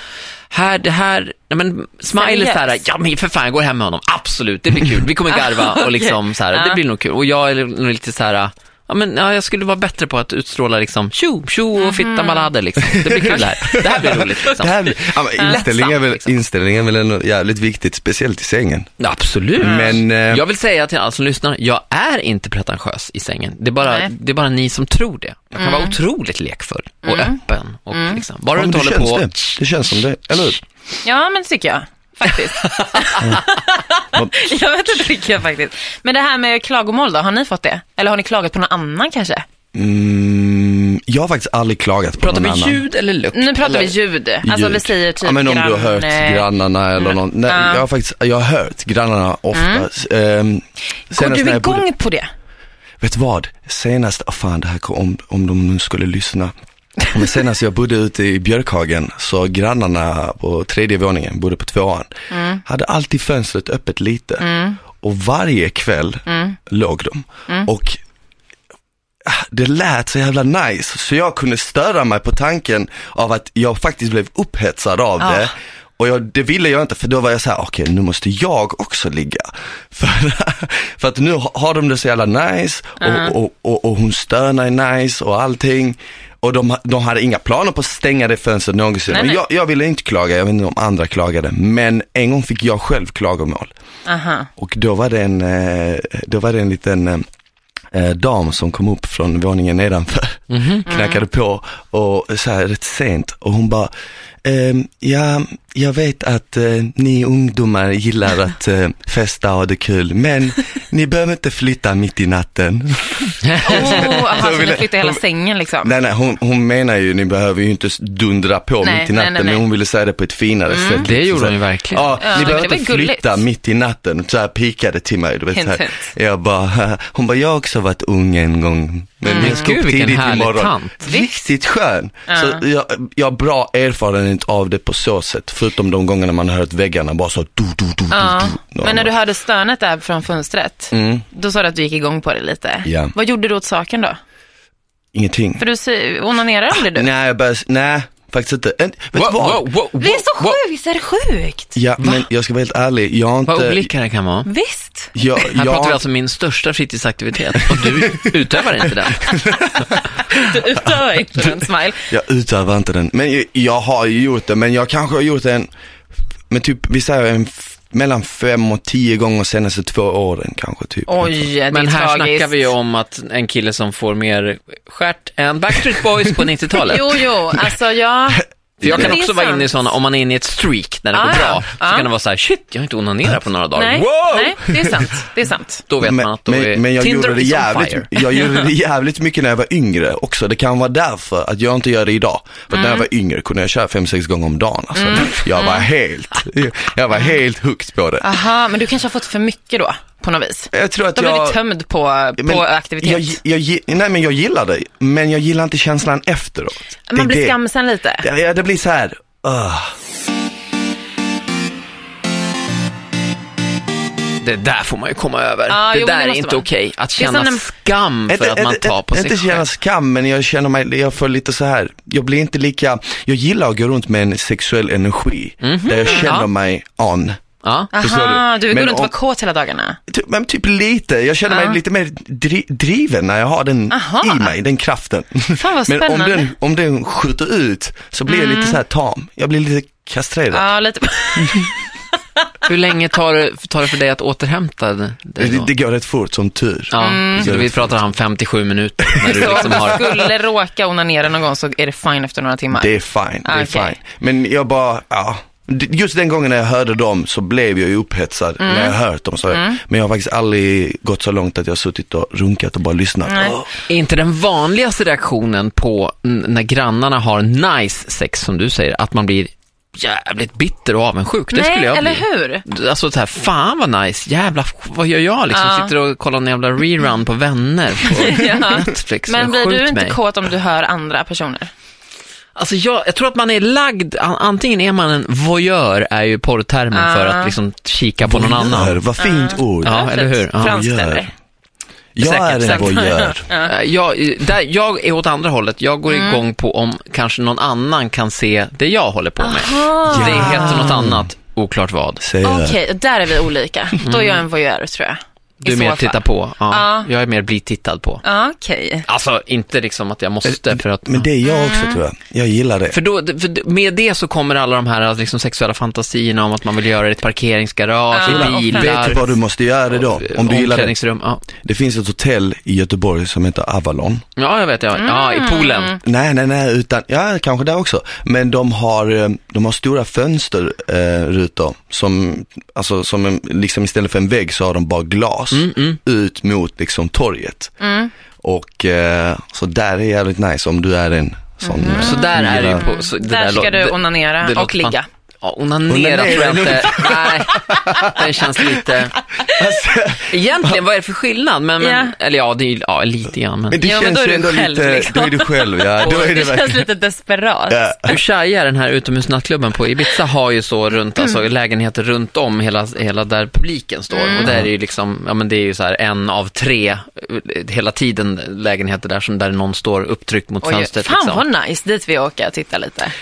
Speaker 1: här, det här, nej men smile är
Speaker 2: Seriös.
Speaker 1: så här, ja men för fan, jag går hem med honom, absolut, det blir kul, vi kommer garva och liksom så här,
Speaker 2: Ah, Ja.
Speaker 1: det blir nog kul. Och jag är nog lite så här, ja men ja, jag skulle vara bättre på att utstråla liksom, tjo, tjo
Speaker 2: Mhm.
Speaker 1: och fitta malader liksom, det blir kul det här, det här blir roligt liksom.
Speaker 3: Det här, blir- ja, men inställning är väl, inställning är väl ändå jävligt viktigt, speciellt i sängen.
Speaker 1: Ja, Absolut.
Speaker 3: Men, eh,
Speaker 1: jag vill säga till alla som lyssnar, jag är inte pretentiös i sängen. Det är bara,
Speaker 2: Nej. Mm.
Speaker 1: det är bara ni som tror det. Jag kan vara otroligt lekfull och öppen. Och liksom, bara
Speaker 3: Ja,
Speaker 1: du
Speaker 3: men
Speaker 1: inte
Speaker 3: det,
Speaker 1: håller
Speaker 3: känns
Speaker 1: på
Speaker 3: det. det känns som det, eller hur?
Speaker 2: Ja, men det tycker jag. Faktiskt. jag vet inte tycker jag faktiskt. Men det här med klagomål då, har ni fått det? Eller har ni klagat på någon annan kanske?
Speaker 3: Mm, jag har faktiskt aldrig klagat på
Speaker 1: Pratar
Speaker 3: någon
Speaker 1: vi
Speaker 3: annan.
Speaker 1: ljud eller lukt?
Speaker 2: Nu pratar vi
Speaker 1: eller?
Speaker 2: ljud. Alltså vi
Speaker 3: ljud.
Speaker 2: säger typ
Speaker 3: ja, men om du har
Speaker 2: grann,
Speaker 3: hört
Speaker 2: eh,
Speaker 3: grannarna eller någon. Nej,
Speaker 2: Ja.
Speaker 3: jag har faktiskt, jag har hört grannarna ofta. Mm.
Speaker 2: Går du igång på det?
Speaker 3: Vet du vad? Senast, oh fan det här kom, om, om de nu skulle lyssna. Men senast jag bodde ute i Björkhagen så grannarna på tredje våningen, bodde på tvåan,
Speaker 2: Mm.
Speaker 3: hade alltid fönstret öppet lite. Och varje kväll
Speaker 2: Mm.
Speaker 3: låg de. Och ah, det lät så jävla nice så jag kunde störa mig på tanken av att jag faktiskt blev upphetsad av
Speaker 2: Ah.
Speaker 3: det. Och jag, det ville jag inte för då var jag så här, okej nu måste jag också ligga. För, för att nu ha- har de det så jävla nice och, och, och, och hon stönar är nice och allting. Och de, ha- de hade inga planer på att stänga det fönstret någonsin.
Speaker 2: Nej,
Speaker 3: Och
Speaker 2: nej.
Speaker 3: Jag, jag ville inte klaga, jag vet inte om andra klagade. Men en gång fick jag själv klagomål.
Speaker 2: Aha.
Speaker 3: Och då var det en, eh, då var det en liten eh, eh, dam som kom upp från våningen nedanför, knackade på och så här rätt sent och hon bara, ehm, ja, jag vet att eh, ni ungdomar gillar att eh, festa och ha det kul, men ni behöver inte flytta mitt i natten.
Speaker 2: Oh, aha, så
Speaker 3: ville-
Speaker 2: ni flyttar hela sängen liksom.
Speaker 3: Nej, nej, hon, hon menar ju, ni behöver ju inte dundra på
Speaker 2: Nej,
Speaker 3: mitt i
Speaker 2: nej, nej,
Speaker 3: natten,
Speaker 2: nej. Mm.
Speaker 3: men hon ville säga det på ett finare sätt.
Speaker 1: Det
Speaker 3: liksom
Speaker 1: gjorde
Speaker 3: så
Speaker 1: hon ju
Speaker 3: här.
Speaker 1: verkligen.
Speaker 3: Ja,
Speaker 2: Ja,
Speaker 3: ni
Speaker 2: men
Speaker 3: behöver
Speaker 2: det
Speaker 3: inte
Speaker 2: var
Speaker 3: flytta
Speaker 2: gulligt.
Speaker 3: mitt i natten, så här pikade till mig. Du vet,
Speaker 2: Hint,
Speaker 3: så här.
Speaker 2: hint.
Speaker 3: Jag bara, hon bara, jag har också varit ung en gång, men jag ska
Speaker 1: Gud,
Speaker 3: upp
Speaker 1: vilken
Speaker 3: tidigt
Speaker 1: härlig
Speaker 3: imorgon.
Speaker 1: tant.
Speaker 3: Riktigt skön.
Speaker 2: Mm. Ja.
Speaker 3: Så jag, jag har bra erfarenhet av det på så sätt, förutom de gångerna man har hört väggarna bara så du, du, du,
Speaker 2: Ja.
Speaker 3: du, du.
Speaker 2: Men när du hörde stönet där från fönstret, då sa du att du gick igång på det lite.
Speaker 3: Ja.
Speaker 2: Vad gjorde du åt saken då?
Speaker 3: Ingenting.
Speaker 2: För du sy- onanerade aldrig du?
Speaker 3: Nej, jag började, nej, faktiskt inte. En, vet du
Speaker 1: Wow,
Speaker 3: vad?
Speaker 1: wow, wow,
Speaker 2: Det är
Speaker 1: wow,
Speaker 2: så
Speaker 1: wow.
Speaker 2: sjukt, är det sjukt?
Speaker 3: Ja, men jag ska vara helt ärlig, jag har inte...
Speaker 1: Vad olika det kan vara.
Speaker 2: Visst.
Speaker 3: Jag,
Speaker 1: Här
Speaker 3: jag,
Speaker 1: pratar vi alltså om min största fritidsaktivitet och du utövar inte den.
Speaker 2: Du utövar inte den smile.
Speaker 3: Jag utövar inte den, men jag, jag har ju gjort det, men jag kanske har gjort den, men typ, vi säger en, f- mellan fem och tio gånger senaste två åren kanske typ.
Speaker 2: Oj, det är
Speaker 1: Men här
Speaker 2: tragiskt.
Speaker 1: snackar vi ju om att en kille som får mer stjärt än Backstreet Boys på 90-talet.
Speaker 2: Jo, jo, alltså ja.
Speaker 1: För jag
Speaker 2: Men
Speaker 1: kan
Speaker 2: det är
Speaker 1: också vara
Speaker 2: sant.
Speaker 1: inne i sådana, om man är inne i ett streak när det
Speaker 2: Ah,
Speaker 1: går
Speaker 2: ja.
Speaker 1: bra,
Speaker 2: Ah.
Speaker 1: så kan det vara så här, shit, jag har inte onanerat på några dagar.
Speaker 2: Nej,
Speaker 1: Wow!
Speaker 2: nej, det är sant. Det är sant.
Speaker 1: Då vet
Speaker 3: men,
Speaker 1: man att då är
Speaker 3: men, men jag
Speaker 1: Tinder
Speaker 3: gjorde det
Speaker 1: is on
Speaker 3: jävligt,
Speaker 1: fire.
Speaker 3: jag gjorde det jävligt mycket när jag var yngre också. Det kan vara därför att jag inte gör det idag. För att när jag
Speaker 1: Mm.
Speaker 3: var yngre kunde jag köra fem, sex gånger om dagen. Alltså. Jag var helt, jag var helt hooked på
Speaker 1: Ah.
Speaker 3: det.
Speaker 2: Aha, men du kanske har fått för mycket då, på något vis.
Speaker 3: Jag tror att
Speaker 2: Du har
Speaker 3: jag...
Speaker 2: blivit tömd på,
Speaker 3: men
Speaker 2: på aktivitet.
Speaker 3: Jag, jag, gi- nej men jag gillar det, men jag gillar inte känslan efteråt. Det är
Speaker 2: Man blir
Speaker 3: det.
Speaker 2: skamsen lite.
Speaker 3: Ja, Ja, det blir så här. ah.
Speaker 1: Det där får man ju komma över.
Speaker 2: Ja,
Speaker 1: det
Speaker 2: Ah, jo,
Speaker 1: där
Speaker 2: men det
Speaker 1: är
Speaker 2: måste
Speaker 1: inte
Speaker 2: man.
Speaker 1: okej. Att
Speaker 2: Det är
Speaker 1: känna
Speaker 2: som en-
Speaker 1: skam för att man tar på sig
Speaker 3: Inte känna
Speaker 1: själv.
Speaker 3: skam, men jag känner mig, jag får lite så här. Jag blir inte lika, jag gillar att gå runt med en sexuell energi. Där jag känner
Speaker 1: Mhm. Ja.
Speaker 3: mig on.
Speaker 1: Ja.
Speaker 2: Ah.
Speaker 3: Förstår
Speaker 2: Aha,
Speaker 3: du?
Speaker 2: du vill gå
Speaker 3: Men
Speaker 2: runt och
Speaker 3: om-
Speaker 2: vara kåt hela dagarna.
Speaker 3: Typ, men typ lite, jag känner mig lite mer dri- driven när jag har den
Speaker 2: Aha.
Speaker 3: i mig, den kraften.
Speaker 2: Fan, vad
Speaker 3: men om
Speaker 2: spännande.
Speaker 3: den, om den skjuter
Speaker 1: Mm.
Speaker 3: ut så blir jag lite så här tam. Jag blir lite kastrerad.
Speaker 2: Ja, lite.
Speaker 1: Hur länge tar det, tar det för dig att återhämta dig
Speaker 3: Det,
Speaker 1: då?
Speaker 3: det Mm. går rätt fort, som tur.
Speaker 1: Ja, så vi pratar han 57 minuter när du
Speaker 2: Så om
Speaker 1: liksom
Speaker 2: du
Speaker 1: har...
Speaker 2: skulle råka onanera någon gång så är det fine efter några timmar.
Speaker 3: Det är fine, det är
Speaker 2: Okej.
Speaker 3: fine. Men jag bara, ja. D- Just den gången när jag hörde dem så blev jag ju upphetsad
Speaker 2: Mm.
Speaker 3: när jag hört dem. Så Men jag har faktiskt aldrig gått så långt att jag har suttit och runkat och bara lyssnat. Oh,
Speaker 2: Nej.
Speaker 3: Åh.
Speaker 1: Är inte den vanligaste reaktionen på n- när grannarna har nice sex, som du säger, att man blir jävligt bitter och avundsjuk? Det
Speaker 2: Nej,
Speaker 1: skulle jag
Speaker 2: eller
Speaker 1: bli.
Speaker 2: hur?
Speaker 1: Alltså så här, fan vad nice, jävla vad gör jag liksom?
Speaker 2: Ja.
Speaker 1: Sitter och kollar en jävla rerun på vänner på
Speaker 2: Ja.
Speaker 1: Netflix.
Speaker 2: Men blir
Speaker 1: skjut
Speaker 2: du inte
Speaker 1: mig.
Speaker 2: kåt om du hör andra personer?
Speaker 1: Alltså jag, jag tror att man är lagd, an- antingen är man en voyeur, är ju porrtermen för
Speaker 2: Ah.
Speaker 1: att liksom kika på någon
Speaker 3: Voyeur,
Speaker 1: annan.
Speaker 3: Vad fint ord.
Speaker 1: Ja, eller hur? Ja.
Speaker 2: Franskt
Speaker 3: Gör.
Speaker 2: eller?
Speaker 3: Jag är en
Speaker 1: säkert.
Speaker 3: voyeur.
Speaker 1: Eh, Jag, där, jag är åt andra hållet, jag går
Speaker 2: Mm.
Speaker 1: igång på om kanske någon annan kan se det jag håller på med. Det heter något annat, oklart vad.
Speaker 3: Säger jag.
Speaker 2: Okej, och där är vi olika. Då är jag en voyeur tror jag.
Speaker 1: Du
Speaker 2: I
Speaker 1: är
Speaker 2: så
Speaker 1: mer
Speaker 2: fall.
Speaker 1: titta på, ja.
Speaker 2: Ja.
Speaker 1: jag är mer bli tittad på.
Speaker 2: Ja, Okej.
Speaker 1: Alltså inte liksom att jag måste för att...
Speaker 3: Men det är jag också
Speaker 2: Mm.
Speaker 3: tror jag. Jag gillar det.
Speaker 1: För, då, för med det så kommer alla de här liksom, sexuella fantasierna om att man vill göra det i ett parkeringsgarage,
Speaker 2: Ja,
Speaker 1: i
Speaker 2: och
Speaker 1: bilar. eh,
Speaker 3: Vet du Typ vad du måste göra då? Om du gillar det.
Speaker 1: omklädningsrum. Ja.
Speaker 3: Det finns ett hotell i Göteborg som heter Avalon.
Speaker 1: ja, jag vet. Ja, ja
Speaker 2: Mm.
Speaker 1: i poolen.
Speaker 3: Nej, nej, nej, utan, ja kanske där också. Men de har, eh, de har stora fönsterrutor som, alltså som en, liksom istället för en vägg så har de bara glas
Speaker 2: Mm.
Speaker 1: Mm,
Speaker 3: ut mot liksom torget. Och eh, så där är jävligt nice om du är en sån.
Speaker 2: Mm.
Speaker 3: eh,
Speaker 1: Så där är det ju på... Så det
Speaker 2: Där ska
Speaker 1: lå-
Speaker 2: du
Speaker 1: det-
Speaker 2: onanera
Speaker 1: det
Speaker 2: och
Speaker 1: låter fan-
Speaker 2: ligga.
Speaker 1: Ja, onanera tror jag inte. Nej, det känns lite...
Speaker 3: Alltså,
Speaker 1: Egentligen, vad är det för skillnad? Men, men,
Speaker 2: Ja.
Speaker 1: Eller ja, det är ju ja, lite grann. Men,
Speaker 3: Men det
Speaker 2: Ja, men
Speaker 3: känns
Speaker 2: då är
Speaker 3: ju
Speaker 2: du
Speaker 3: ändå
Speaker 2: själv,
Speaker 3: lite,
Speaker 2: liksom.
Speaker 3: då är du själv ja. Då är det
Speaker 2: det känns
Speaker 3: verkligen,
Speaker 2: lite desperat.
Speaker 3: ja.
Speaker 1: hur tjajig är den här utomhusnattklubben på Ibiza har ju så runt,
Speaker 2: Mm.
Speaker 1: alltså lägenheter runt om hela, hela där publiken står. Och
Speaker 2: Mm.
Speaker 1: där är ju liksom, ja men det är ju så här en av tre, eh, hela tiden lägenheter där som där någon står upptryckt mot
Speaker 2: Oj,
Speaker 1: fönstret.
Speaker 2: fan
Speaker 1: liksom.
Speaker 2: vad nice, dit vi åker och tittar lite.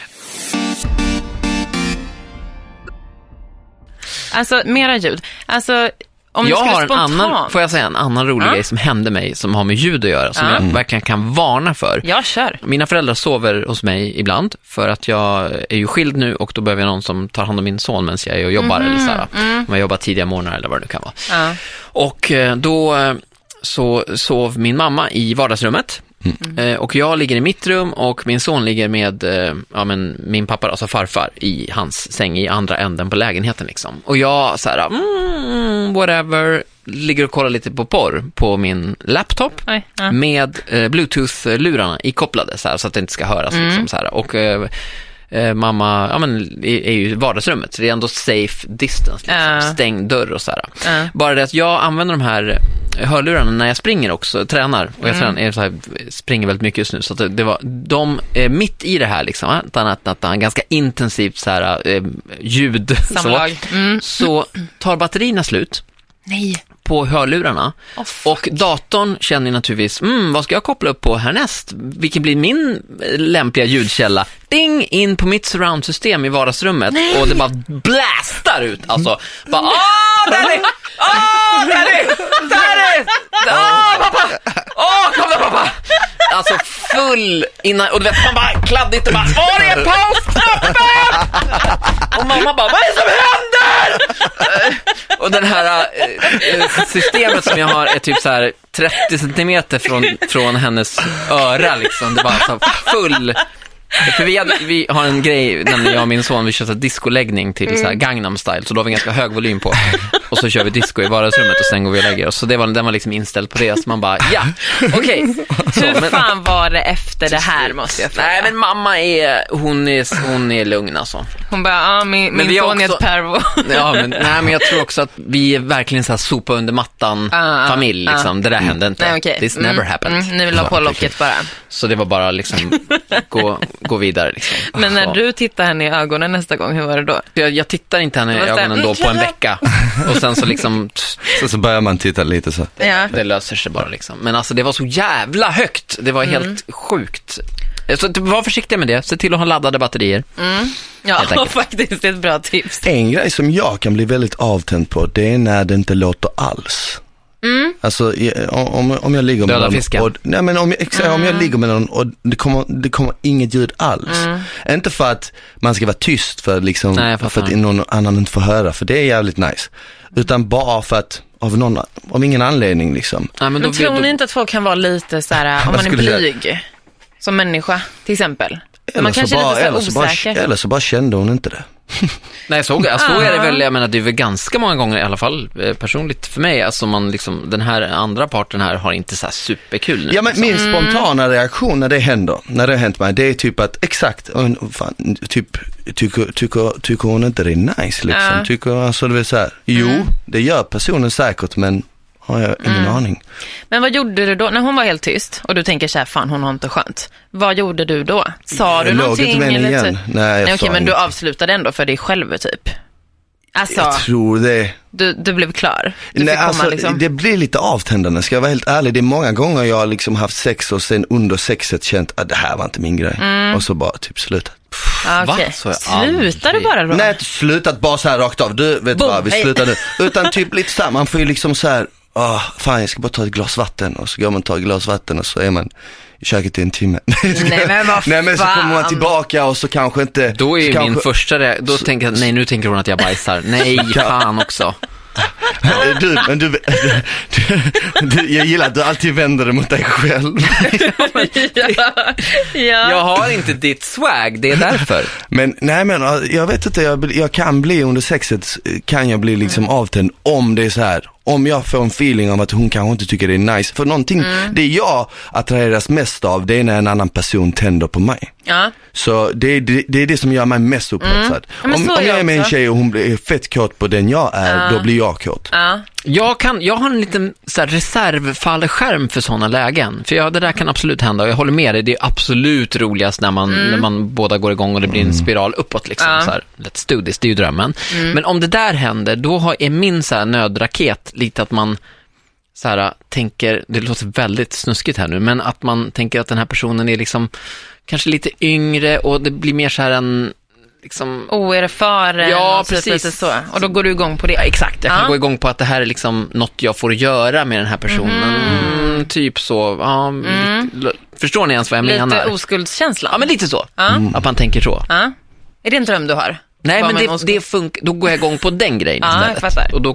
Speaker 2: Alltså, mera ljud. Alltså, om
Speaker 1: jag
Speaker 2: du skulle
Speaker 1: har en
Speaker 2: spontant...
Speaker 1: annan, får jag säga en annan rolig
Speaker 2: Ja.
Speaker 1: grej som hände mig som har med ljud att göra, som
Speaker 2: Ja.
Speaker 1: jag verkligen kan varna för.
Speaker 2: Ja, kör.
Speaker 1: Mina föräldrar sover hos mig ibland för att jag är ju skild nu och då behöver jag någon som tar hand om min son medan jag är och jobbar eller så här, om jag jobbar tidiga morgnar eller vad det nu kan vara.
Speaker 2: Ja.
Speaker 1: Och eh, då eh, så sov min mamma i vardagsrummet. Eh, Och jag ligger i mitt rum och min son ligger med eh, ja, men min pappa, alltså farfar, i hans säng i andra änden på lägenheten. Liksom. Och jag så här, mm, whatever, ligger och kollar lite på porr på min laptop
Speaker 2: Oj, ja.
Speaker 1: med eh, bluetooth-lurarna ikopplade så, här, så att det inte ska höras.
Speaker 2: Mm.
Speaker 1: Liksom, så här. Och eh, eh, mamma ja, men, i- är ju i vardagsrummet, så det är ändå safe distance, liksom.
Speaker 2: Ja.
Speaker 1: stängd dörr och så här.
Speaker 2: Ja.
Speaker 1: Bara det att jag använder de här hörlurarna när jag springer också, tränar. Och jag
Speaker 2: Mm.
Speaker 1: tränar, är så här, springer väldigt mycket just nu. Så att det- det var, de, eh, mitt i det här liksom, eh, tan, tan, tan, tan, ganska intensivt så här, eh, ljud, så,
Speaker 2: Samlag. Mm.
Speaker 1: så tar batterierna slut
Speaker 2: Nej.
Speaker 1: på hörlurarna.
Speaker 2: Åh, fuck.
Speaker 1: och datorn känner ju naturligtvis, mm, vad ska jag koppla upp på härnäst? Vilken blir min eh, lämpliga ljudkälla? Ding, in på mitt surroundsystem i vardagsrummet och det bara blastar ut. Alltså, bara, åh, där är, åh, där är, där är, åh, pappa, åh, kom då pappa. Alltså full innan, och du vet, man bara kladdigt och bara, åh, det är pausknappen! Och mamma bara, vad är det som händer? Eh, Och den här eh, eh, systemet som jag har är typ så här 30 centimeter från, från hennes öra liksom. Det var alltså full... För vi, hade, vi har en grej, nämligen jag och min son, vi kör så här discoläggning till så här Gangnam style, så då har vi ganska hög volym på. Och så kör vi disco i vardagsrummet och sen går vi och lägger oss. Så det var, den var liksom inställd på det, så man bara, ja, okej. Så,
Speaker 2: Hur
Speaker 1: men-
Speaker 2: fan var det efter det här måste jag
Speaker 1: Nej
Speaker 2: fråga?
Speaker 1: men mamma är, hon är, hon är lugn alltså.
Speaker 2: Hon bara, ja min, min
Speaker 1: vi har
Speaker 2: son är ett
Speaker 1: också-
Speaker 2: pervo.
Speaker 1: Ja, men, nej, men jag tror också att vi är verkligen så här sopa under
Speaker 2: Ah, ah,
Speaker 1: mattan-familj. liksom. Det där hände inte.
Speaker 2: Nej, okej.
Speaker 1: This never
Speaker 2: Mm,
Speaker 1: happened.
Speaker 2: Mm, nu vill jag ha på locket bara.
Speaker 1: Så det var bara liksom, gå, gå vidare. Liksom.
Speaker 2: Men
Speaker 1: Så.
Speaker 2: när du tittar henne i ögonen nästa gång, hur var det då?
Speaker 1: jag, jag tittar inte henne i
Speaker 2: Det var så här,
Speaker 1: ögonen då på en vecka. Och sen så liksom, tss,
Speaker 3: Så, så börjar man titta lite så.
Speaker 2: Ja.
Speaker 1: det löser sig bara. Liksom. Men alltså det var så jävla högt. Det var
Speaker 2: Mm.
Speaker 1: helt sjukt. Så t- var försiktig med det. Se till att ha laddade batterier.
Speaker 2: Mm.
Speaker 1: Helt
Speaker 2: Ja,
Speaker 1: enkelt.
Speaker 2: faktiskt ett bra tips.
Speaker 3: En grej som jag kan bli väldigt avtänd på, det är när det inte låter alls.
Speaker 2: Mm.
Speaker 3: Alltså i- om, om jag ligger med
Speaker 1: Döda
Speaker 3: någon
Speaker 1: fisken.
Speaker 3: och, nej, men om, jag, exakt, om
Speaker 2: Mm.
Speaker 3: jag ligger med någon och det kommer, det kommer inget ljud alls. Inte för att man ska vara tyst för, liksom,
Speaker 1: Nej, jag fattar.
Speaker 3: för att någon annan inte får höra, för det är jävligt nice. Utan bara för att, av, någon, av ingen anledning liksom.
Speaker 1: Nej, men
Speaker 2: Men
Speaker 1: då,
Speaker 2: tror
Speaker 1: då,
Speaker 2: ni inte att folk kan vara lite så här, om
Speaker 3: Vad
Speaker 2: man är
Speaker 3: skulle jag
Speaker 2: blyg som människa till exempel?
Speaker 3: Eller
Speaker 2: man
Speaker 3: så
Speaker 2: kanske
Speaker 3: bara-
Speaker 2: är
Speaker 3: eller
Speaker 2: lite
Speaker 3: så
Speaker 2: så
Speaker 3: bara-
Speaker 2: här osäker.
Speaker 3: Eller så bara kände hon inte det.
Speaker 1: Nej, så, så är det
Speaker 2: Ah.
Speaker 1: väl, jag menar det är väl ganska många gånger i alla fall eh, personligt för mig, alltså man liksom, den här andra parten här har inte så här superkul nu.
Speaker 3: Ja men min
Speaker 2: Mm.
Speaker 3: spontana reaktion när det händer, när det har hänt mig, det är typ att exakt, och fan, typ, tycker, tycker, tycker hon inte det är nice liksom?
Speaker 2: Ja. Mm.
Speaker 3: Tycker, alltså det vill säga, jo, det gör personen säkert men har jag ingen aning.
Speaker 2: Men vad gjorde du då? När hon var helt tyst och du tänker så här, fan hon har inte skönt. Vad gjorde du då? Sa du
Speaker 3: Jag låg
Speaker 2: någonting?
Speaker 3: inte med henne
Speaker 2: eller
Speaker 3: igen.
Speaker 2: typ-
Speaker 3: Nej, jag
Speaker 2: Nej,
Speaker 3: sa
Speaker 2: okej, men du
Speaker 3: inget.
Speaker 2: avslutade ändå för dig själv typ. Alltså,
Speaker 3: Jag tror det.
Speaker 2: du, du blev klar. Du
Speaker 3: Nej,
Speaker 2: fick komma
Speaker 3: alltså,
Speaker 2: liksom.
Speaker 3: Det blir lite avtändande, ska jag vara helt ärlig. Det är många gånger jag har liksom haft sex och sen under sexet känt att det här var inte min grej.
Speaker 2: Mm.
Speaker 3: Och så bara typ slutat.
Speaker 2: Ah,
Speaker 1: Va?
Speaker 2: okej.
Speaker 1: Så jag
Speaker 2: Slutar du
Speaker 1: aldrig-
Speaker 2: bara då?
Speaker 3: Nej, inte slutat bara så här rakt av. Du, vet du
Speaker 2: Boom,
Speaker 3: vad, vi
Speaker 2: hej.
Speaker 3: slutar nu. Utan typ lite så här, man får ju liksom så här, åh, fan jag ska bara ta ett glas vatten och så går man och tar ett glas vatten och så är man i köket i en timme.
Speaker 2: Nej, men vad
Speaker 3: Nej men så kommer man
Speaker 2: fan.
Speaker 3: tillbaka och så kanske inte,
Speaker 1: Då är
Speaker 3: så
Speaker 1: ju
Speaker 3: kanske,
Speaker 1: min första reaktion, då tänker jag, nej nu tänker hon att jag bajsar. Nej, fan också.
Speaker 3: du, men du, du, du, jag gillar att du alltid vänder dig mot dig själv.
Speaker 2: ja.
Speaker 1: Jag
Speaker 2: ja.
Speaker 1: har inte ditt swag, det är därför.
Speaker 3: Men nej men äh, jag vet inte, jag, bli- jag kan bli under sexet, eh, kan jag bli liksom
Speaker 2: Mm.
Speaker 3: avtänd om det är så här. Om jag får en feeling om att hon kanske inte tycker det är nice. För någonting,
Speaker 2: Mm.
Speaker 3: det jag attraheras mest av det är när en annan person tänder på mig.
Speaker 2: ja.
Speaker 3: Så det, är- det, det är det som gör mig mest upphetsad.
Speaker 2: Mm. Ja, men
Speaker 3: Om,
Speaker 2: så är
Speaker 3: om jag
Speaker 2: jag
Speaker 3: är med en
Speaker 2: också.
Speaker 3: tjej och hon blir fett kåt på den jag är, då blir jag kåt.
Speaker 2: ja.
Speaker 1: Jag, kan, jag har en liten så här, reservfallskärm för sådana lägen. För ja, det där kan absolut hända och jag håller med dig. Det är absolut roligast när man, när man båda går igång och det blir en spiral uppåt. Liksom,
Speaker 2: Ja.
Speaker 1: så här, let's do this, det är ju drömmen. Men om det där händer, då har, är min så här, nödraket lite att man så här, tänker, det låter väldigt snuskigt här nu, men att man tänker att den här personen är liksom kanske lite yngre och det blir mer så här en, liksom,
Speaker 2: Oerfaren
Speaker 1: Ja,
Speaker 2: och typ
Speaker 1: precis.
Speaker 2: lite så. Och då går du igång på det.
Speaker 1: Ja, exakt. Jag kan
Speaker 2: Ja.
Speaker 1: gå igång på att det här är liksom något jag får göra med den här personen. Mm, typ så. Ja, lite, förstår ni ens vad jag
Speaker 2: Mm. Lite
Speaker 1: menar?
Speaker 2: oskuldskänsla.
Speaker 1: ja, men lite så.
Speaker 2: Ja.
Speaker 1: Att man tänker så.
Speaker 2: Ja. Är det en dröm du har?
Speaker 1: Nej,
Speaker 2: Var
Speaker 1: men
Speaker 2: man
Speaker 1: det,
Speaker 2: oskuld?
Speaker 1: det funkar. Då går jag igång på den grejen
Speaker 2: Ja, jag
Speaker 1: istället.
Speaker 2: fattar. Mm.
Speaker 1: Och då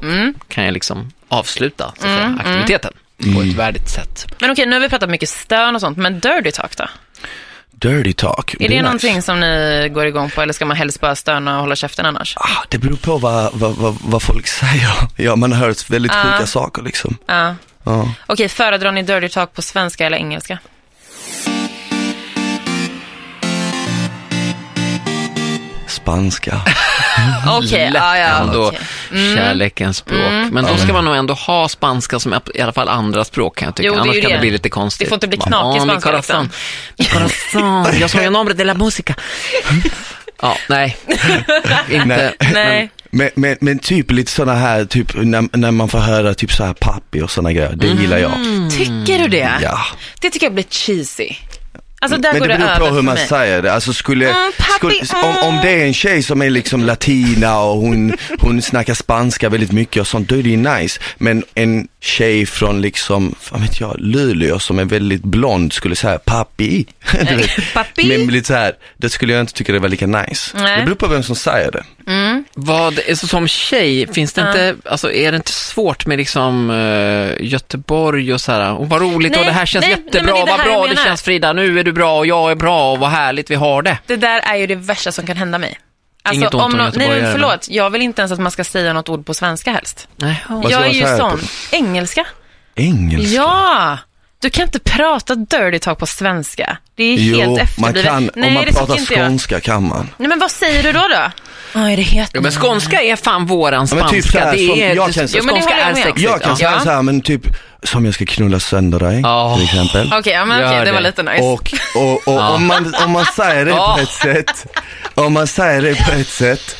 Speaker 1: kan jag liksom avsluta så att säga, aktiviteten på ett värdigt sätt.
Speaker 2: Men okej, nu har vi pratat mycket stön och sånt, men dirty talk då? Är
Speaker 3: Dirty talk.
Speaker 2: det,
Speaker 3: nice.
Speaker 2: någonting som ni går igång på eller ska man helst bara stöna och hålla käften annars?
Speaker 3: Ah, det beror på vad, vad, vad, vad folk säger. Ja, man har hört väldigt sjuka saker liksom.
Speaker 2: Ja.
Speaker 3: Ja.
Speaker 2: Okej, föredrar ni dirty talk på svenska eller engelska?
Speaker 3: Spanska.
Speaker 2: Okej, ja, ja,
Speaker 1: ändå
Speaker 2: okej. Mm.
Speaker 1: kärlekens språk. Men då ska man nog ändå ha spanska som i alla fall andra språk kan jag tycka.
Speaker 2: Jo, det är
Speaker 1: Annars
Speaker 2: ju
Speaker 1: kan det
Speaker 2: det.
Speaker 1: bli lite konstigt.
Speaker 2: Det får inte bli
Speaker 1: Man,
Speaker 2: knakig
Speaker 1: "Ah, mi
Speaker 2: spanska,
Speaker 1: corazón,
Speaker 2: liksom."
Speaker 1: mi corazón, jag såg en nombre de la musica. ja, nej. inte.
Speaker 3: Nej.
Speaker 2: Nej.
Speaker 3: Men, men, men typ lite sådana här, typ när, när man får höra typ så här pappi och sådana grejer, det gillar jag.
Speaker 2: Mm. Tycker du det?
Speaker 3: Ja.
Speaker 2: Det tycker jag blir cheesy. Alltså där
Speaker 3: Men
Speaker 2: går
Speaker 3: det
Speaker 2: det,
Speaker 3: beror
Speaker 2: över
Speaker 3: på hur
Speaker 2: för
Speaker 3: man
Speaker 2: mig.
Speaker 3: säger det. Alltså skulle,
Speaker 2: Mm, pappi,
Speaker 3: skulle om, om det är en tjej som är liksom latina och hon, hon snackar spanska väldigt mycket och sånt, då är det ju nice. Men en tjej från liksom, vad vet jag, Luleå som är väldigt blond skulle säga pappi. Du vet.
Speaker 2: Pappi?
Speaker 3: Men lite så här, det skulle jag inte tycka det var lika nice.
Speaker 2: Nej.
Speaker 3: Det beror på vem som säger det.
Speaker 1: Vad, alltså, som tjej, finns det inte, alltså, är det inte svårt med liksom eh, Göteborg och så här, och vad roligt
Speaker 2: Nej,
Speaker 1: och det här känns
Speaker 2: nej, nej, men det är
Speaker 1: jättebra,
Speaker 2: det
Speaker 1: vad
Speaker 2: här jag
Speaker 1: bra det
Speaker 2: menar.
Speaker 1: känns Frida, nu är du bra och jag är bra och vad härligt vi har det.
Speaker 2: Det där är ju det värsta som kan hända mig. Alltså,
Speaker 1: Inget ont om
Speaker 2: nå- Nej,
Speaker 1: göteborgare,
Speaker 2: men
Speaker 1: men-
Speaker 2: förlåt. Jag vill inte ens att man ska säga något ord på svenska helst.
Speaker 1: Nej.
Speaker 3: Vad ska
Speaker 2: jag är
Speaker 3: man
Speaker 2: ju
Speaker 3: säga
Speaker 2: sån.
Speaker 3: på-
Speaker 2: Engelska.
Speaker 3: Engelska.
Speaker 2: Ja! Du kan inte prata dirty talk på svenska. Det är helt
Speaker 3: Jo, man
Speaker 2: efterblivet.
Speaker 3: kan,
Speaker 2: Nej,
Speaker 3: om man
Speaker 2: det tycker
Speaker 3: pratar
Speaker 2: inte jag.
Speaker 3: skånska kan man.
Speaker 2: Nej, men vad säger du då då? Vad är det het
Speaker 1: Ja, men skånska är fan våran
Speaker 3: Ja, men
Speaker 1: spanska.
Speaker 3: typ så här, som
Speaker 1: det är,
Speaker 3: jag kan säga-
Speaker 2: Jo, men det
Speaker 1: skånska
Speaker 2: håller jag
Speaker 1: är
Speaker 2: med om.
Speaker 1: sexigt.
Speaker 3: Jag kan
Speaker 1: ja.
Speaker 3: säga
Speaker 2: Ja.
Speaker 3: så här, men typ som jag ska knulla sönder dig
Speaker 1: Ja.
Speaker 3: till exempel.
Speaker 2: Okej, ja, men
Speaker 1: Gör
Speaker 2: okej, det var
Speaker 1: det.
Speaker 2: lite nice.
Speaker 3: Och, och, och om, man, om man säger det på ett sätt, om man säger det på ett sätt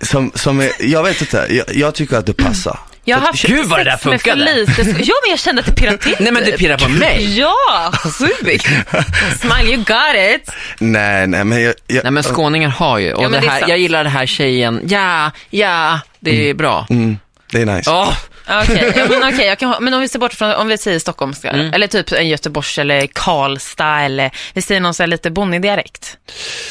Speaker 3: som, som är, jag vet inte, jag, jag tycker att det passar.
Speaker 2: jag har haft
Speaker 1: Gud, vad det
Speaker 2: sex
Speaker 1: där
Speaker 2: med för
Speaker 1: funkade.
Speaker 2: lite sk- Ja, men jag kände att det pirrade till.
Speaker 1: Nej men det pirrar på mig.
Speaker 2: Ja, sjukt. Smile, you got it.
Speaker 3: Nej, nej men jag, jag
Speaker 1: Nej men skåningar har ju, och
Speaker 2: Ja, men
Speaker 1: det
Speaker 2: det är
Speaker 1: här,
Speaker 2: sant.
Speaker 3: Mm.
Speaker 1: jag gillar det här tjejen, ja, ja, det är bra.
Speaker 3: det är nice.
Speaker 1: Ja,
Speaker 2: Ah, Okej, ja, men, okej, jag kan ha, men om vi ser bort från, om vi säger stockholmska,
Speaker 1: Mm.
Speaker 2: eller typ en Göteborgs eller Karlstad, eller vi säger någon så här lite bonnidialekt.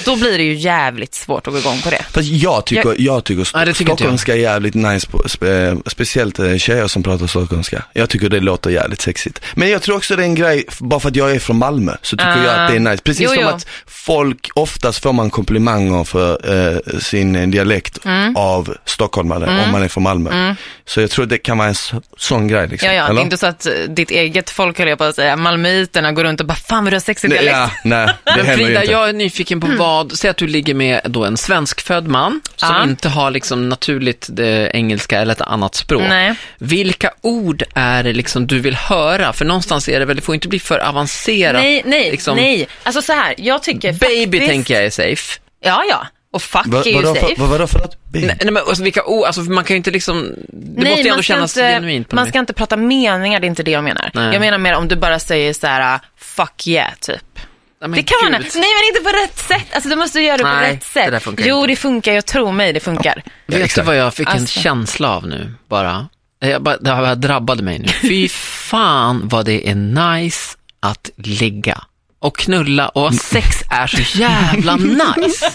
Speaker 2: Då blir det ju jävligt svårt att gå igång på det.
Speaker 3: Fast jag tycker, jag,
Speaker 2: Jag-
Speaker 3: tycker, st-
Speaker 1: Nej, det tycker inte jag.
Speaker 3: stockholmska är jävligt nice, på, spe, speciellt eh, tjejer som pratar stockholmska. Jag tycker det låter jävligt sexigt. Men jag tror också det är en grej, f- bara för att jag är från Malmö så tycker
Speaker 2: Ah.
Speaker 3: jag att det är nice. Precis
Speaker 2: Jo,
Speaker 3: som
Speaker 2: jo.
Speaker 3: att folk, oftast får man komplimanger för eh, sin eh, dialekt
Speaker 2: Mm.
Speaker 3: av stockholmare om man är från Malmö. Så jag tror det kan vara en så, sån grej liksom.
Speaker 2: Ja, ja, det
Speaker 3: eller?
Speaker 2: är inte så att eh, ditt eget folk, höll jag på att säga, malmöiterna går runt och bara, fan vad du har sexig
Speaker 3: Nej,
Speaker 2: dialekt.
Speaker 3: ja, nej, det
Speaker 1: Men
Speaker 3: händer ju
Speaker 1: Frida,
Speaker 3: inte.
Speaker 1: jag är nyfiken
Speaker 2: Mm.
Speaker 1: på vad, säg att du ligger med då en svenskfödd man som
Speaker 2: Ja.
Speaker 1: inte har liksom naturligt eh, engelska eller ett annat språk.
Speaker 2: Nej.
Speaker 1: Vilka ord är det liksom du vill höra? För någonstans är det väl, det får inte bli för avancerat.
Speaker 2: Nej, nej,
Speaker 1: liksom,
Speaker 2: nej. Alltså så här, jag tycker
Speaker 1: Baby
Speaker 2: faktiskt...
Speaker 1: tänker jag är safe.
Speaker 2: Ja, ja. Och fuck
Speaker 3: Va-
Speaker 2: är ju
Speaker 3: vadå
Speaker 2: safe.
Speaker 3: för- vad- Vadå för att? Babe.
Speaker 1: Nej, nej men alltså, vilka ord, alltså man kan ju inte liksom, det måste ju ändå kännas genuint på
Speaker 2: man
Speaker 1: något
Speaker 2: ska inte prata meningar, det är inte det jag menar.
Speaker 1: Nej.
Speaker 2: Jag menar mer om du bara säger så här, fuck yeah, typ.
Speaker 1: Nej, men
Speaker 2: Det kan man, nej
Speaker 1: gud.
Speaker 2: men inte på rätt sätt. Alltså du måste göra det på
Speaker 1: Nej,
Speaker 2: rätt
Speaker 1: det
Speaker 2: sätt.
Speaker 1: där funkar
Speaker 2: jo
Speaker 1: inte.
Speaker 2: det funkar, jag tror mig det funkar.
Speaker 1: Vet du
Speaker 3: exakt.
Speaker 1: vad jag fick en
Speaker 2: Alltså.
Speaker 1: känsla av nu bara? Jag bara? Det här drabbade mig nu. Fy fan vad det är nice att ligga och knulla och sex är så jävla nice.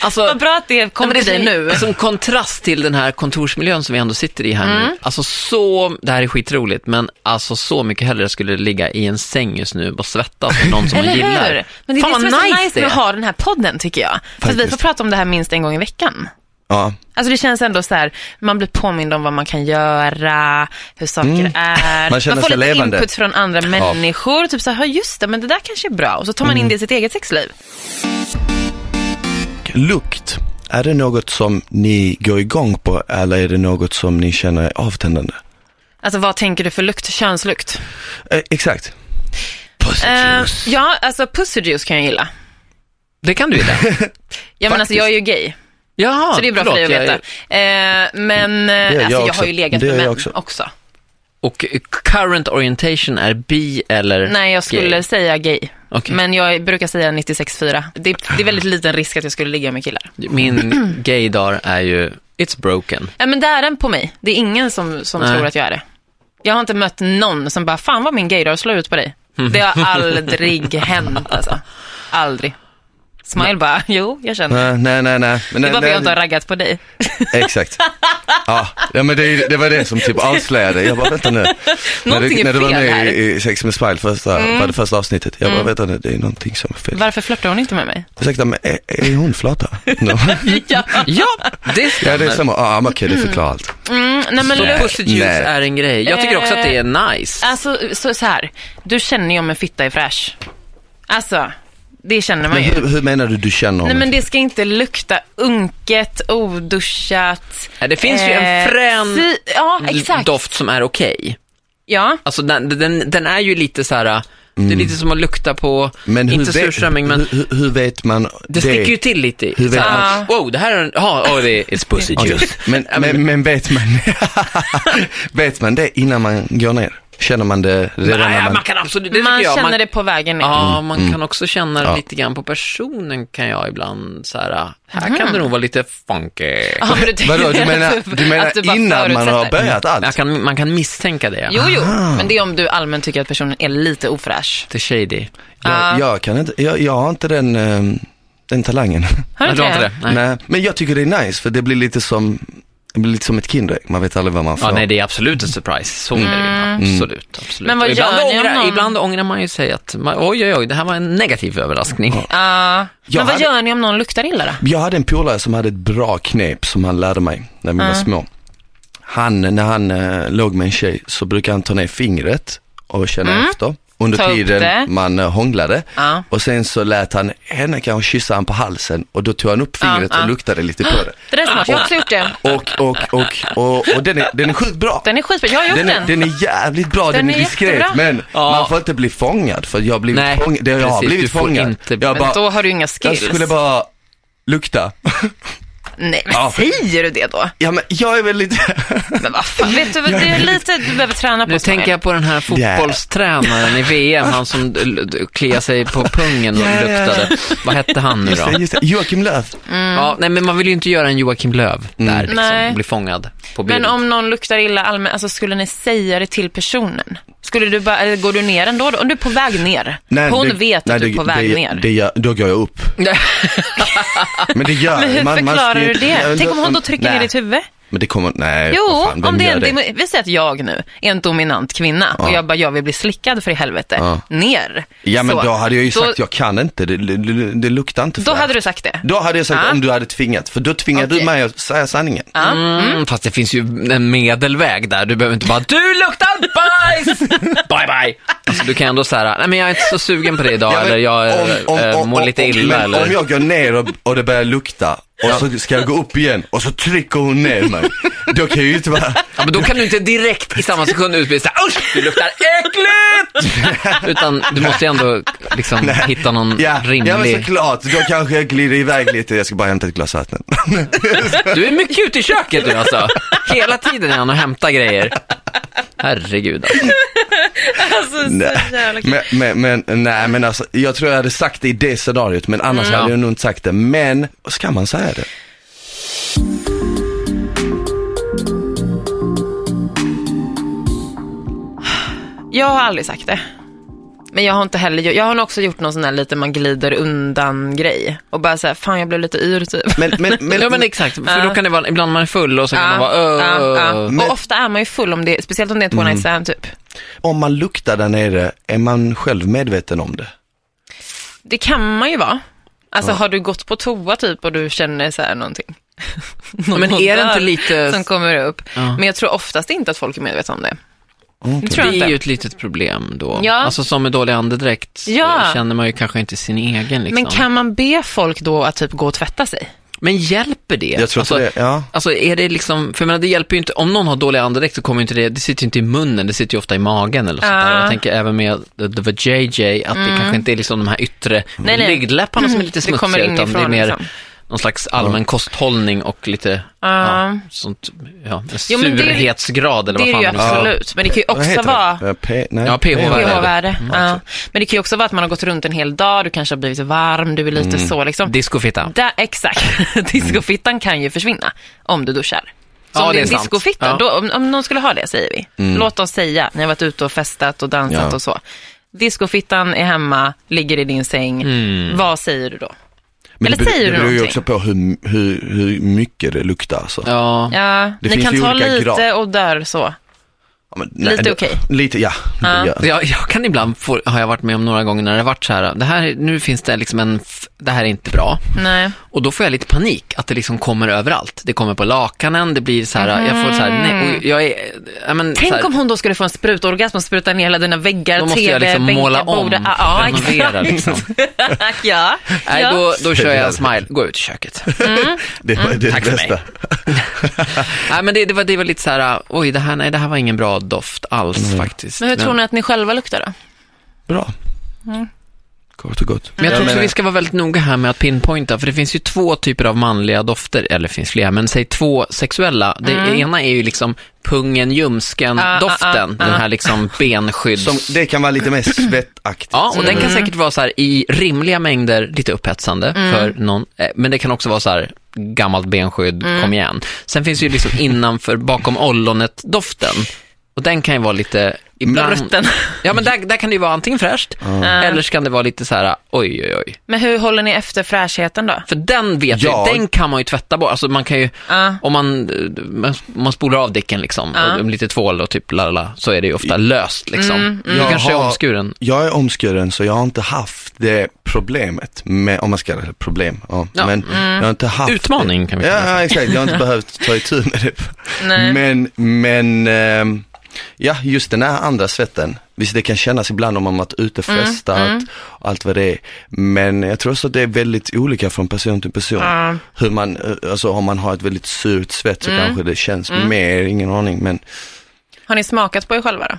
Speaker 1: Alltså,
Speaker 2: Vad bra att det kom till dig nu.
Speaker 1: som Alltså, kontrast till den här kontorsmiljön som vi ändå sitter i här
Speaker 2: Mm.
Speaker 1: nu. Alltså så, det här är skitroligt, men alltså så mycket hellre skulle ligga i en säng just nu och svettas med någon som man
Speaker 2: Eller
Speaker 1: gillar.
Speaker 2: hur? Men det är
Speaker 1: Fan
Speaker 2: det som
Speaker 1: vad
Speaker 2: är så
Speaker 1: nice
Speaker 2: nice med att ha den här podden tycker jag. För att vi får
Speaker 3: Faktiskt.
Speaker 2: prata om det här minst en gång i veckan.
Speaker 3: Ja.
Speaker 2: Alltså det känns ändå så här, man blir påmind om vad man kan göra, hur saker är.
Speaker 3: Man känner
Speaker 2: får
Speaker 3: sig
Speaker 2: lite
Speaker 3: levande.
Speaker 2: input från andra människor. Typ så här, "Ja, just det, men det där kanske är bra. Och så tar man in det i sitt eget sexliv.
Speaker 3: Lukt, är det något som ni går igång på eller är det något som ni känner är avtändande?
Speaker 2: Alltså vad tänker du för lukt? Könslukt?
Speaker 3: Eh, exakt.
Speaker 2: Eh,
Speaker 3: Pussjuice.
Speaker 2: ja, alltså pussyjuice kan jag gilla.
Speaker 1: Det kan du gilla.
Speaker 2: Ja, men alltså jag är ju gay,
Speaker 1: Jaha,
Speaker 2: så det är bra
Speaker 1: förlåt,
Speaker 2: för dig att
Speaker 1: jag-
Speaker 2: veta. Eh, men eh,
Speaker 3: jag
Speaker 2: alltså, jag,
Speaker 3: också.
Speaker 2: har ju legat
Speaker 3: Det gör
Speaker 2: med män
Speaker 3: jag
Speaker 2: också.
Speaker 3: också.
Speaker 1: Och current orientation är bi eller
Speaker 2: Nej, jag skulle
Speaker 1: gay?
Speaker 2: säga gay.
Speaker 1: Okej.
Speaker 2: Men jag brukar säga 96,4. Det, det är väldigt liten risk att jag skulle ligga med killar.
Speaker 1: Min gaydar är ju, it's broken.
Speaker 2: Ja, men det är den på mig. Det är ingen som, som
Speaker 1: Nej.
Speaker 2: tror att jag är det. Jag har inte mött någon som bara, fan vad min gaydar slår ut på dig.
Speaker 3: Mm.
Speaker 2: Det har aldrig hänt alltså. Aldrig. Smile bara, jo, jag känner det.
Speaker 3: Nej, nej, nej. nej. Men
Speaker 2: Det
Speaker 3: nej,
Speaker 2: är bara för
Speaker 3: nej.
Speaker 2: jag inte har raggat på dig.
Speaker 3: Exakt. Ja, ja men det, det var det som typ avslöjade. Jag bara, vänta nu. när
Speaker 2: Någonting
Speaker 3: du,
Speaker 2: är
Speaker 3: när du var
Speaker 2: fel
Speaker 3: med
Speaker 2: här. Mm.
Speaker 3: i, i Sex med Smile första, var det första avsnittet. Jag bara, vänta nu, det är någonting som är fel.
Speaker 2: Varför flörtar hon inte med mig?
Speaker 3: Ursäkta, men är, är hon flata? No.
Speaker 2: Ja.
Speaker 1: Ja, det stämmer.
Speaker 3: Ja, det är samma. Ja, men okej, det förklarar allt.
Speaker 2: Mm, nej, men
Speaker 1: Så
Speaker 2: lukt-
Speaker 1: pussy juice
Speaker 3: Nej.
Speaker 1: är en grej. Jag tycker också att det är nice.
Speaker 2: Alltså, så, så här. Du känner ju om en fitta är fräsch. Alltså, det känner man
Speaker 3: Men
Speaker 2: ju.
Speaker 3: hur, hur menar du, du känner om
Speaker 2: Nej
Speaker 3: det?
Speaker 2: men det ska inte lukta unket, oduschat.
Speaker 1: Nej, Äh, det finns ju en frän
Speaker 2: eh, si- ja, exakt.
Speaker 1: Doft som är okej.
Speaker 2: Ja.
Speaker 1: Alltså den, den, den är ju lite så här, det är lite som att lukta på,
Speaker 3: Mm. Men hur
Speaker 1: inte
Speaker 3: vet-
Speaker 1: surströmming, men
Speaker 3: hur, hur, hur vet man
Speaker 1: det sticker ju till lite. i.
Speaker 3: Hur vet
Speaker 1: Så här,
Speaker 2: man-
Speaker 1: Wow, det här är en, ja, oh, det är it's pussy
Speaker 3: Okej.
Speaker 1: juice.
Speaker 3: Men, men, men vet, man, vet man det innan man går ner? Känner man det redan när
Speaker 1: Nej,
Speaker 3: man...
Speaker 1: man kan absolut, det tycker
Speaker 2: man
Speaker 1: jag.
Speaker 2: känner det på vägen ner.
Speaker 1: Ja, man kan också känna det
Speaker 3: Mm, Ja.
Speaker 1: lite grann på personen kan jag ibland så här, här kan det nog vara lite funky.
Speaker 2: Mm. Ja, men du
Speaker 3: Vadå, du
Speaker 2: tänker
Speaker 3: menar,
Speaker 2: att
Speaker 3: du menar
Speaker 2: att bara
Speaker 3: innan man har
Speaker 2: förutsätter.
Speaker 3: börjat
Speaker 1: Man
Speaker 3: allt?
Speaker 1: kan, man kan misstänka det.
Speaker 2: Jo, jo, men det är om du allmänt tycker att personen är lite ofräsch.
Speaker 1: Det är shady.
Speaker 3: Jag, jag kan inte, jag, jag har inte den, ehm, den talangen.
Speaker 2: Har du
Speaker 1: Nej, du
Speaker 2: inte
Speaker 1: har inte
Speaker 2: det?
Speaker 1: det?
Speaker 3: Nej.
Speaker 1: Nej.
Speaker 3: Men jag tycker det är nice, för det blir lite som, det blir lite som ett Kinderägg, man vet aldrig vad man får.
Speaker 1: Ja, nej, det är absolut en surprise. Så är det ju. Absolut,
Speaker 3: Mm.
Speaker 1: absolut.
Speaker 2: Mm. Men vad
Speaker 1: Och ibland,
Speaker 2: gör ni om
Speaker 1: ångrar,
Speaker 2: någon-
Speaker 1: ibland ångrar man ju sig att, man, oj, oj, oj, det här var en negativ överraskning.
Speaker 2: Ja.
Speaker 3: Jag
Speaker 2: Men vad
Speaker 3: hade-
Speaker 2: gör ni om någon luktar illa då?
Speaker 3: Jag hade en polare som hade ett bra knep som han lärde mig när vi var små. Han, när han eh, låg med en tjej så brukade han ta ner fingret och känna efter under
Speaker 2: Mm. Ta upp det.
Speaker 3: tiden man eh, hånglade.
Speaker 2: Ja.
Speaker 3: Och sen så lät han henne kanske kyssa han på halsen och då tog han upp fingret
Speaker 2: Ja, ja.
Speaker 3: och luktade lite på det.
Speaker 2: Det där är smart, jag har också gjort det.
Speaker 3: Och, och, och, och, och den, är, den är sjukt bra.
Speaker 2: Den är skitbra, jag har gjort
Speaker 3: Den
Speaker 2: den.
Speaker 3: är, den är jävligt bra, den,
Speaker 2: Den
Speaker 3: är
Speaker 2: är
Speaker 3: diskret
Speaker 2: jättebra.
Speaker 3: men
Speaker 1: Ja.
Speaker 3: man får inte bli fångad för jag har blivit
Speaker 1: Nej,
Speaker 3: fångad. Det- Jag har
Speaker 1: precis,
Speaker 3: blivit
Speaker 1: du får
Speaker 3: fångad.
Speaker 1: inte-
Speaker 3: jag,
Speaker 2: Men då
Speaker 3: bara,
Speaker 2: har du inga
Speaker 3: jag
Speaker 2: skills.
Speaker 3: skulle bara lukta.
Speaker 2: Nej, men
Speaker 3: Ja.
Speaker 2: säger du det då?
Speaker 3: Ja, men jag är väl lite...
Speaker 2: Men vad fan, vet du vad, det är lite du behöver träna på
Speaker 1: Nu
Speaker 2: Samuel.
Speaker 1: tänker jag på den här fotbollstränaren i VM, han som d- d- kliade sig på pungen och
Speaker 3: Ja, ja, ja.
Speaker 1: luktade. Vad hette han nu
Speaker 3: Just det,
Speaker 1: då?
Speaker 3: Alltså, just det. Joakim Löf.
Speaker 2: Mm.
Speaker 1: Ja, nej, men man vill ju inte göra en Joakim Löv
Speaker 3: Mm.
Speaker 1: där, liksom,
Speaker 2: Nej.
Speaker 1: bli fångad på bild.
Speaker 2: Men om någon luktar illa allmänt, alltså skulle ni säga det till personen? Skulle du bara, eller går du ner ändå då? Om du är på väg ner. Hon
Speaker 3: det-
Speaker 2: vet att
Speaker 3: nej,
Speaker 2: du är
Speaker 3: det-
Speaker 2: på väg
Speaker 3: det,
Speaker 2: ner.
Speaker 3: Det gör, då går jag upp. Men det gör
Speaker 2: men hur
Speaker 3: man- man
Speaker 2: förklarar
Speaker 3: ska ju-
Speaker 2: du
Speaker 3: Ja,
Speaker 2: det?
Speaker 3: men
Speaker 2: Tänk om hon då
Speaker 3: men-
Speaker 2: trycker
Speaker 3: nej.
Speaker 2: ner ditt huvud?
Speaker 3: Men det kommer, nej, vad
Speaker 2: Jo,
Speaker 3: fan, vem
Speaker 2: om det är
Speaker 3: gör
Speaker 2: en, demo- vi säger att jag nu är en dominant kvinna och jag bara, jag vill bli slickad för i helvete.
Speaker 3: Ja.
Speaker 2: Ner.
Speaker 3: Ja men
Speaker 2: Så.
Speaker 3: då hade jag ju sagt,
Speaker 2: då,
Speaker 3: jag kan inte, det, det, det luktar inte
Speaker 2: då
Speaker 3: för
Speaker 2: hade du sagt det?
Speaker 3: Då hade jag sagt
Speaker 2: Ja.
Speaker 3: om du hade tvingat, för då tvingar du
Speaker 2: Okej.
Speaker 3: mig att säga sanningen.
Speaker 1: Mm, fast det finns ju en medelväg där. Du behöver inte bara, du luktar bajs! bye bye! Alltså, du kan ändå säga, nej men jag är inte så sugen på det idag,
Speaker 3: Ja, men
Speaker 1: eller jag eh, eh, mår lite
Speaker 3: om-
Speaker 1: illa.
Speaker 3: men
Speaker 1: eller...
Speaker 3: Om jag går ner och, och det börjar lukta och så ska jag gå upp igen och så trycker hon ner mig. Då kan jag ju inte vara,
Speaker 1: Ja, men då kan du inte direkt i samma sekund utbrista usch, du luktar äckligt! Utan du måste ju ändå liksom hitta någon
Speaker 3: ja, ja men
Speaker 1: rimlig...
Speaker 3: såklart, då kanske jag glider iväg lite, jag ska bara hämta ett glas vatten.
Speaker 1: Du är mycket ute i köket du alltså. Hela tiden är han och hämtar grejer. Herregud alltså.
Speaker 2: Alltså,
Speaker 3: Nej.
Speaker 2: så jävla kul.
Speaker 3: Men, men, men, nej men alltså, jag tror jag hade sagt det i det scenariot, men annars
Speaker 1: Mm.
Speaker 3: hade jag nog inte sagt det. Men, ska man säga det?
Speaker 2: Jag har aldrig sagt det. Men jag har inte heller gjort- jag har nog också gjort någon sån här lite man glider undan grej och bara säga fan jag blev lite yr typ.
Speaker 3: Men, men, men,
Speaker 1: ja men exakt, för då kan det vara, ibland man är full och så kan
Speaker 2: Ja,
Speaker 1: man vara
Speaker 2: ja,
Speaker 1: "Öh."
Speaker 2: ja.
Speaker 3: Men-
Speaker 2: Och ofta är man ju full om det, speciellt om det är ett one night
Speaker 1: Mm.
Speaker 2: stand typ.
Speaker 3: om man luktar där nere, är man själv medveten om det?
Speaker 2: Det kan man ju vara. Alltså har du gått på toa typ och du känner så här någonting. Någon
Speaker 1: Men är det inte
Speaker 2: odör
Speaker 1: lite-
Speaker 2: Som kommer upp.
Speaker 1: Ja.
Speaker 2: Men jag tror oftast inte att folk är medvetna om det.
Speaker 1: Mm.
Speaker 2: Det tror jag
Speaker 1: Det är ju typ
Speaker 2: inte.
Speaker 1: ett litet problem då.
Speaker 2: Ja.
Speaker 1: Alltså som med dålig andedräkt
Speaker 2: Ja.
Speaker 1: eh, känner man ju kanske inte sin egen liksom.
Speaker 2: Men kan man be folk då att typ gå och tvätta sig?
Speaker 1: Men hjälper det?
Speaker 3: Jag tror
Speaker 1: alltså,
Speaker 3: inte det, ja.
Speaker 1: Alltså är det liksom, för jag menar, det hjälper ju inte, om någon har dålig andedräkt så kommer ju inte det, det sitter ju inte i munnen, det sitter ju ofta i magen eller sånt där.
Speaker 2: Ja.
Speaker 1: Jag tänker även med The, the JJ, att det kanske inte är liksom de här yttre
Speaker 2: Mm. Nej, nej.
Speaker 1: blygdläpparna som är Mm. lite
Speaker 2: Det kommer
Speaker 1: smutsiga, utan det är
Speaker 2: inifrån,
Speaker 1: mer
Speaker 2: liksom.
Speaker 1: någon slags allmän kosthållning och lite, ja, sånt, ja,
Speaker 2: Ah. Jo, men det är-
Speaker 1: surhetsgrad eller
Speaker 2: Det är
Speaker 1: vad
Speaker 2: ju
Speaker 1: fan det nu
Speaker 2: absolut. Men det kan ju
Speaker 3: Vad
Speaker 2: också
Speaker 3: heter
Speaker 2: vara
Speaker 3: det? Eh, P- nej.
Speaker 1: Ja, PH-värde.
Speaker 2: pH-värde.
Speaker 1: Mm,
Speaker 2: Ja. Men det kan ju också vara att man har gått runt en hel dag, du kanske har blivit varm, du är lite
Speaker 1: Mm.
Speaker 2: så liksom.
Speaker 1: Discofitta.
Speaker 2: Där, exakt. Discofittan kan ju försvinna om du duschar. Så
Speaker 1: Mm. Ja,
Speaker 2: om det är
Speaker 1: det är
Speaker 2: en
Speaker 1: sant. Ja.
Speaker 2: discofitta,
Speaker 1: Mm.
Speaker 2: då, om, om någon skulle ha det säger vi. Låt oss säga, ni har varit ute och festat och dansat
Speaker 3: Ja.
Speaker 2: och så. Discofittan är hemma, ligger i din säng.
Speaker 1: Mm.
Speaker 2: Vad säger du då?
Speaker 3: Men
Speaker 2: Eller
Speaker 3: det,
Speaker 2: säger
Speaker 3: det
Speaker 2: du
Speaker 3: beror ju
Speaker 2: någonting?
Speaker 3: också på hur, hur, hur mycket det luktar alltså.
Speaker 1: Ja.
Speaker 2: Ja,
Speaker 3: Det
Speaker 2: ni
Speaker 3: finns
Speaker 2: kan
Speaker 3: ju
Speaker 2: ta
Speaker 3: olika
Speaker 2: lite
Speaker 3: grad.
Speaker 2: och där så.
Speaker 3: Ja, men nej,
Speaker 2: Lite
Speaker 3: det-
Speaker 2: okej.
Speaker 3: Lite, ja. det gör-
Speaker 1: Jag, jag kan ibland, få, har jag varit med om några gånger när det har varit så här, det här, nu finns det liksom en, f- det här är inte bra.
Speaker 2: Nej.
Speaker 1: Och då får jag lite panik att det liksom kommer överallt. Det kommer på lakanen, det blir så här, jag får så här, nej, och jag är, ja, men, så
Speaker 2: Tänk
Speaker 1: här,
Speaker 2: om hon då skulle få en sprutorgasm och spruta ner hela dina väggar,
Speaker 1: Då måste
Speaker 2: TV,
Speaker 1: jag liksom
Speaker 2: bänkar,
Speaker 1: måla om,
Speaker 2: bord. Ja, ja,
Speaker 1: renovera,
Speaker 2: exakt.
Speaker 1: liksom.
Speaker 2: ja,
Speaker 1: nej,
Speaker 2: ja.
Speaker 1: då, då kör jag
Speaker 3: Jävlar.
Speaker 1: en smile, gå ut i köket.
Speaker 3: Det, var det
Speaker 1: Mm. tack för mig.
Speaker 3: bästa.
Speaker 1: nej, men det, det, var, det var lite så här, oj, det här, nej, det här var ingen bra doft alls faktiskt.
Speaker 2: Men hur tror ni att ni själva luktar då?
Speaker 3: Bra. Kort och gott.
Speaker 1: Men jag tror också
Speaker 3: menar-
Speaker 1: vi ska vara väldigt noga här med att pinpointa, för det finns ju två typer av manliga dofter, eller det finns flera, men säg två sexuella. Det
Speaker 2: Mm.
Speaker 1: ena är ju liksom pungen,
Speaker 2: Ah, ah,
Speaker 1: ljumsken-doften,
Speaker 2: ah,
Speaker 1: den
Speaker 2: ah.
Speaker 1: här liksom benskydds...
Speaker 3: Som, det kan vara lite mer svettaktigt.
Speaker 1: Ja, och den kan säkert vara så här i rimliga mängder lite upphetsande för någon, eh, men det kan också vara så här gammalt benskydd, kom igen. Sen finns ju liksom innanför, bakom ollonet-doften. Och den kan ju vara lite... Ibland...
Speaker 2: Rutten.
Speaker 1: Ja, men där, där kan det ju vara antingen fräscht, eller så kan det vara lite så här, oj, oj, oj.
Speaker 2: Men hur håller ni efter fräschheten då?
Speaker 1: För den vet
Speaker 3: Ja.
Speaker 1: jag, den kan man ju tvätta bort. Alltså man kan ju,
Speaker 2: Ja.
Speaker 1: om man, eh, om man spolar av dicken liksom,
Speaker 2: Ja.
Speaker 1: och lite tvål och typ lalala, så är det ju ofta löst liksom. Du
Speaker 3: Jag
Speaker 1: kanske är
Speaker 3: har-
Speaker 1: omskuren.
Speaker 3: Jag är omskuren så jag har inte haft det problemet, med, om man ska kalla det problem. Ja.
Speaker 1: Ja. Mm.
Speaker 3: Men jag har inte haft
Speaker 1: Utmaning kan vi
Speaker 3: Ja,
Speaker 1: kalla det.
Speaker 3: ja, exakt. Jag har inte behövt ta itu med det.
Speaker 2: Nej.
Speaker 3: Men, men, ehm, ja, just den här andra svetten. Visst, det kan kännas ibland om man varit ute och
Speaker 1: Mm,
Speaker 2: Mm.
Speaker 3: festat och allt vad det är. Men jag tror också att det är väldigt olika från person till person.
Speaker 2: Ja.
Speaker 3: Hur man, eh, alltså om man har ett väldigt surt
Speaker 1: Mm.
Speaker 3: svett så kanske det känns mer, ingen aning, men
Speaker 2: Har ni smakat på er själva då?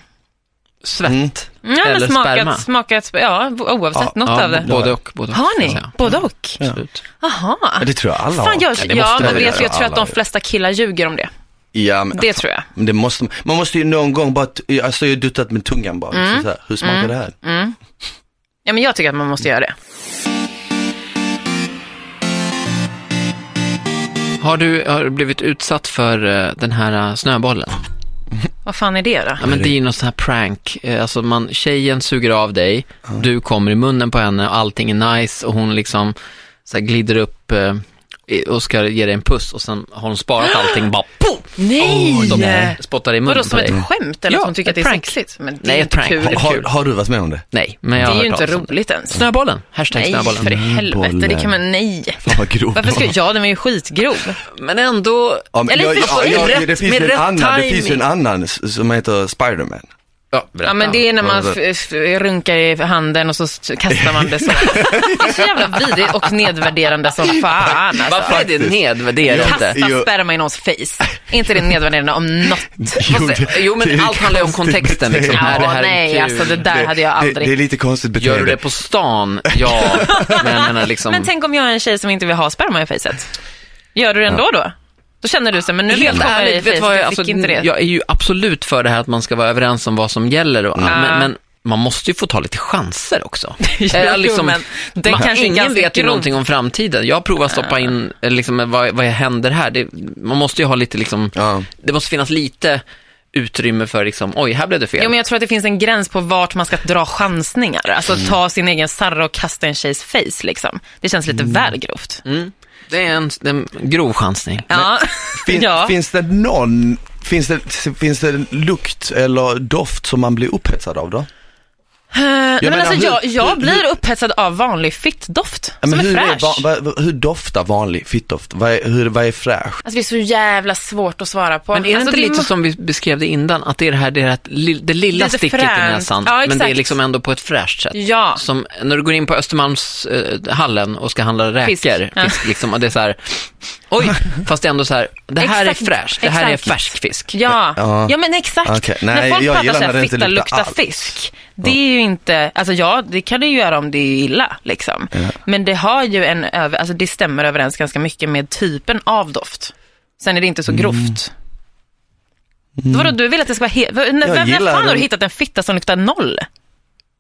Speaker 1: svett
Speaker 3: Mm.
Speaker 2: Ja,
Speaker 1: eller
Speaker 2: men smakat,
Speaker 1: sperma.
Speaker 2: smakat, ja, oavsett något
Speaker 1: Ja,
Speaker 2: av det.
Speaker 1: Både och. Både och,
Speaker 2: Har
Speaker 1: ska jag
Speaker 2: ni?
Speaker 1: säga.
Speaker 2: Både och?
Speaker 1: Absolut.
Speaker 2: Jaha.
Speaker 3: Men det tror jag alla
Speaker 2: Fan, jag,
Speaker 3: har.
Speaker 2: ja,
Speaker 3: det måste
Speaker 2: men
Speaker 3: alla
Speaker 2: jag,
Speaker 3: göra.
Speaker 2: jag tror att
Speaker 3: Alla
Speaker 2: de
Speaker 3: gör.
Speaker 2: flesta killar ljuger om det.
Speaker 3: Ja, men,
Speaker 2: Det tror jag.
Speaker 3: men det måste, man- man måste ju någon gång bara, t- alltså jag har duttat med tungan bara.
Speaker 1: Mm.
Speaker 3: liksom Så här, hur smakar det här?
Speaker 2: Mm. Ja, men jag tycker att man måste göra det.
Speaker 1: Har du har du blivit utsatt för eh, den här eh, snöbollen?
Speaker 2: Vad fan är det då?
Speaker 1: Ja, men det är ju någon sån här prank. Eh, Alltså man, tjejen suger av dig, du kommer i munnen på henne och allting är nice och hon liksom så här glider upp eh, i- och ska ge dig en puss och sen har hon sparat allting bara poff!
Speaker 2: Nej!
Speaker 1: Och de spottar i
Speaker 2: Vadå,
Speaker 1: munnen på
Speaker 2: som ett
Speaker 1: dig.
Speaker 2: skämt eller
Speaker 1: Ja,
Speaker 2: att hon tycker att det är
Speaker 1: ett prank.
Speaker 2: sexigt? Men det
Speaker 1: Nej,
Speaker 2: är
Speaker 1: ett
Speaker 2: inte
Speaker 1: prank.
Speaker 2: kul.
Speaker 1: det är
Speaker 3: Har,
Speaker 1: kul.
Speaker 3: har du varit med om det?
Speaker 1: Nej, men
Speaker 2: Det
Speaker 1: jag har
Speaker 2: är ju
Speaker 1: hört
Speaker 2: inte
Speaker 1: talas om det.
Speaker 2: roligt ens.
Speaker 1: Snöbollen, hashtag
Speaker 2: Nej,
Speaker 1: snöbollen.
Speaker 2: för i helvete, det kan man, nej.
Speaker 3: Fan vad grov.
Speaker 2: Varför ska, ja, den var ju skitgrov.
Speaker 1: Men ändå,
Speaker 3: Ja, men
Speaker 1: eller
Speaker 3: jag,
Speaker 1: förstår
Speaker 3: ja,
Speaker 1: du?
Speaker 3: jag,
Speaker 1: rätt,
Speaker 3: det finns
Speaker 1: med
Speaker 3: ju en
Speaker 1: rätt
Speaker 3: annan, det
Speaker 1: timing.
Speaker 3: finns ju en annan s- som heter Spiderman.
Speaker 1: Ja,
Speaker 2: Ja, men det är när man f- f- runkar i handen och så st- kastar man det så. Det är så jävla vidrigt och nedvärderande som fan
Speaker 1: Varför är
Speaker 2: alltså.
Speaker 1: det nedvärderande?
Speaker 2: Kasta
Speaker 3: Jo.
Speaker 2: sperma i någons face. Är inte det nedvärderande om något?
Speaker 1: Jo, jo men
Speaker 3: det är
Speaker 1: allt handlar ju om
Speaker 3: konstigt
Speaker 1: kontexten liksom.
Speaker 3: beteende.
Speaker 1: Är det
Speaker 2: Ja,
Speaker 1: här
Speaker 2: nej,
Speaker 1: kul?
Speaker 2: alltså det där hade jag
Speaker 3: Det,
Speaker 1: liksom-
Speaker 3: det är
Speaker 2: aldrig.
Speaker 3: lite konstigt
Speaker 1: Gör
Speaker 3: beteende.
Speaker 1: du det på stan? Ja, men jag menar liksom.
Speaker 2: Men tänk om jag är en tjej som inte vill ha sperma i facet. Gör du det ändå då? Då känner du så här, men nu vill jag
Speaker 1: Helt
Speaker 2: komma i
Speaker 1: ärligt, vet du vad
Speaker 2: face,
Speaker 1: jag,
Speaker 2: du
Speaker 1: alltså,
Speaker 2: fick inte det.
Speaker 1: jag är ju absolut för det här att man ska vara överens om vad som gäller och allt, men, men man måste ju få ta lite chanser också. Eller liksom,
Speaker 2: men det
Speaker 1: man,
Speaker 2: kanske är
Speaker 1: ingen
Speaker 2: ganska
Speaker 1: vet ju
Speaker 2: grovt.
Speaker 1: någonting om framtiden. Jag provar att stoppa in, eh, liksom, eh, vad, vad händer här? Det, man måste ju ha lite liksom,
Speaker 3: Ja.
Speaker 1: det måste finnas lite utrymme för liksom, oj, här blev det fel.
Speaker 2: Jo, men jag tror att det finns en gräns på vart man ska dra chansningar. Alltså
Speaker 3: Mm.
Speaker 2: ta sin egen sarra och kasta i en tjejs face liksom. Det känns lite
Speaker 3: Mm.
Speaker 2: väl grovt.
Speaker 1: Det är en, en grov chansning.
Speaker 2: Ja.
Speaker 3: Fin,
Speaker 2: ja.
Speaker 3: Finns det någon, finns det, finns det en lukt eller doft som man blir upphetsad av då?
Speaker 2: Eh, nej, men
Speaker 3: menar,
Speaker 2: alltså,
Speaker 3: hur-
Speaker 2: jag, jag
Speaker 3: hur-
Speaker 2: blir upphetsad av vanlig fittdoft
Speaker 3: Ja,
Speaker 2: som är
Speaker 3: hur,
Speaker 2: fräsch.
Speaker 3: va, va, hur doftar vanlig fittdoft? Vad är, hur, vad är fräscht?
Speaker 2: Alltså, det är så jävla svårt att svara på.
Speaker 1: Men är det
Speaker 2: alltså,
Speaker 1: inte lite
Speaker 2: må-
Speaker 1: som vi beskrev det innan, att det är det här, det, är det, här, li- det lilla
Speaker 2: Lite
Speaker 1: sticket i
Speaker 2: fränt.
Speaker 1: näsan,
Speaker 2: Ja,
Speaker 1: men det är
Speaker 2: exakt.
Speaker 1: liksom ändå på ett fräscht sätt.
Speaker 2: Ja.
Speaker 1: Som när du går in på Östermalmshallen eh, hallen och ska handla räkor,
Speaker 2: Fisk.
Speaker 1: fisk.
Speaker 2: Ja.
Speaker 1: liksom, och det är så här, oj, fast det är ändå så här, det här
Speaker 2: Exakt.
Speaker 1: är fräscht, det här
Speaker 2: Exakt.
Speaker 1: är färsk fisk.
Speaker 2: Ja.
Speaker 3: Ja.
Speaker 2: ja, men exakt.
Speaker 3: Okej,
Speaker 2: När
Speaker 3: nej,
Speaker 2: folk
Speaker 3: jag
Speaker 2: pratar
Speaker 3: gillar
Speaker 2: så
Speaker 3: när det
Speaker 2: här,
Speaker 3: inte
Speaker 2: fitta
Speaker 3: luktar
Speaker 2: luktar
Speaker 3: alls."
Speaker 2: fisk. Det är ju inte, alltså ja, det kan det ju göra om det är illa liksom. Men det har ju en över, alltså det stämmer överens ganska mycket med typen av doft. Sen är det inte så
Speaker 3: Mm.
Speaker 2: grovt. Vadå, du vill att det ska vara helt, vem, vem
Speaker 3: gillar
Speaker 2: fan har
Speaker 3: den.
Speaker 2: du hittat en fitta som luktar noll?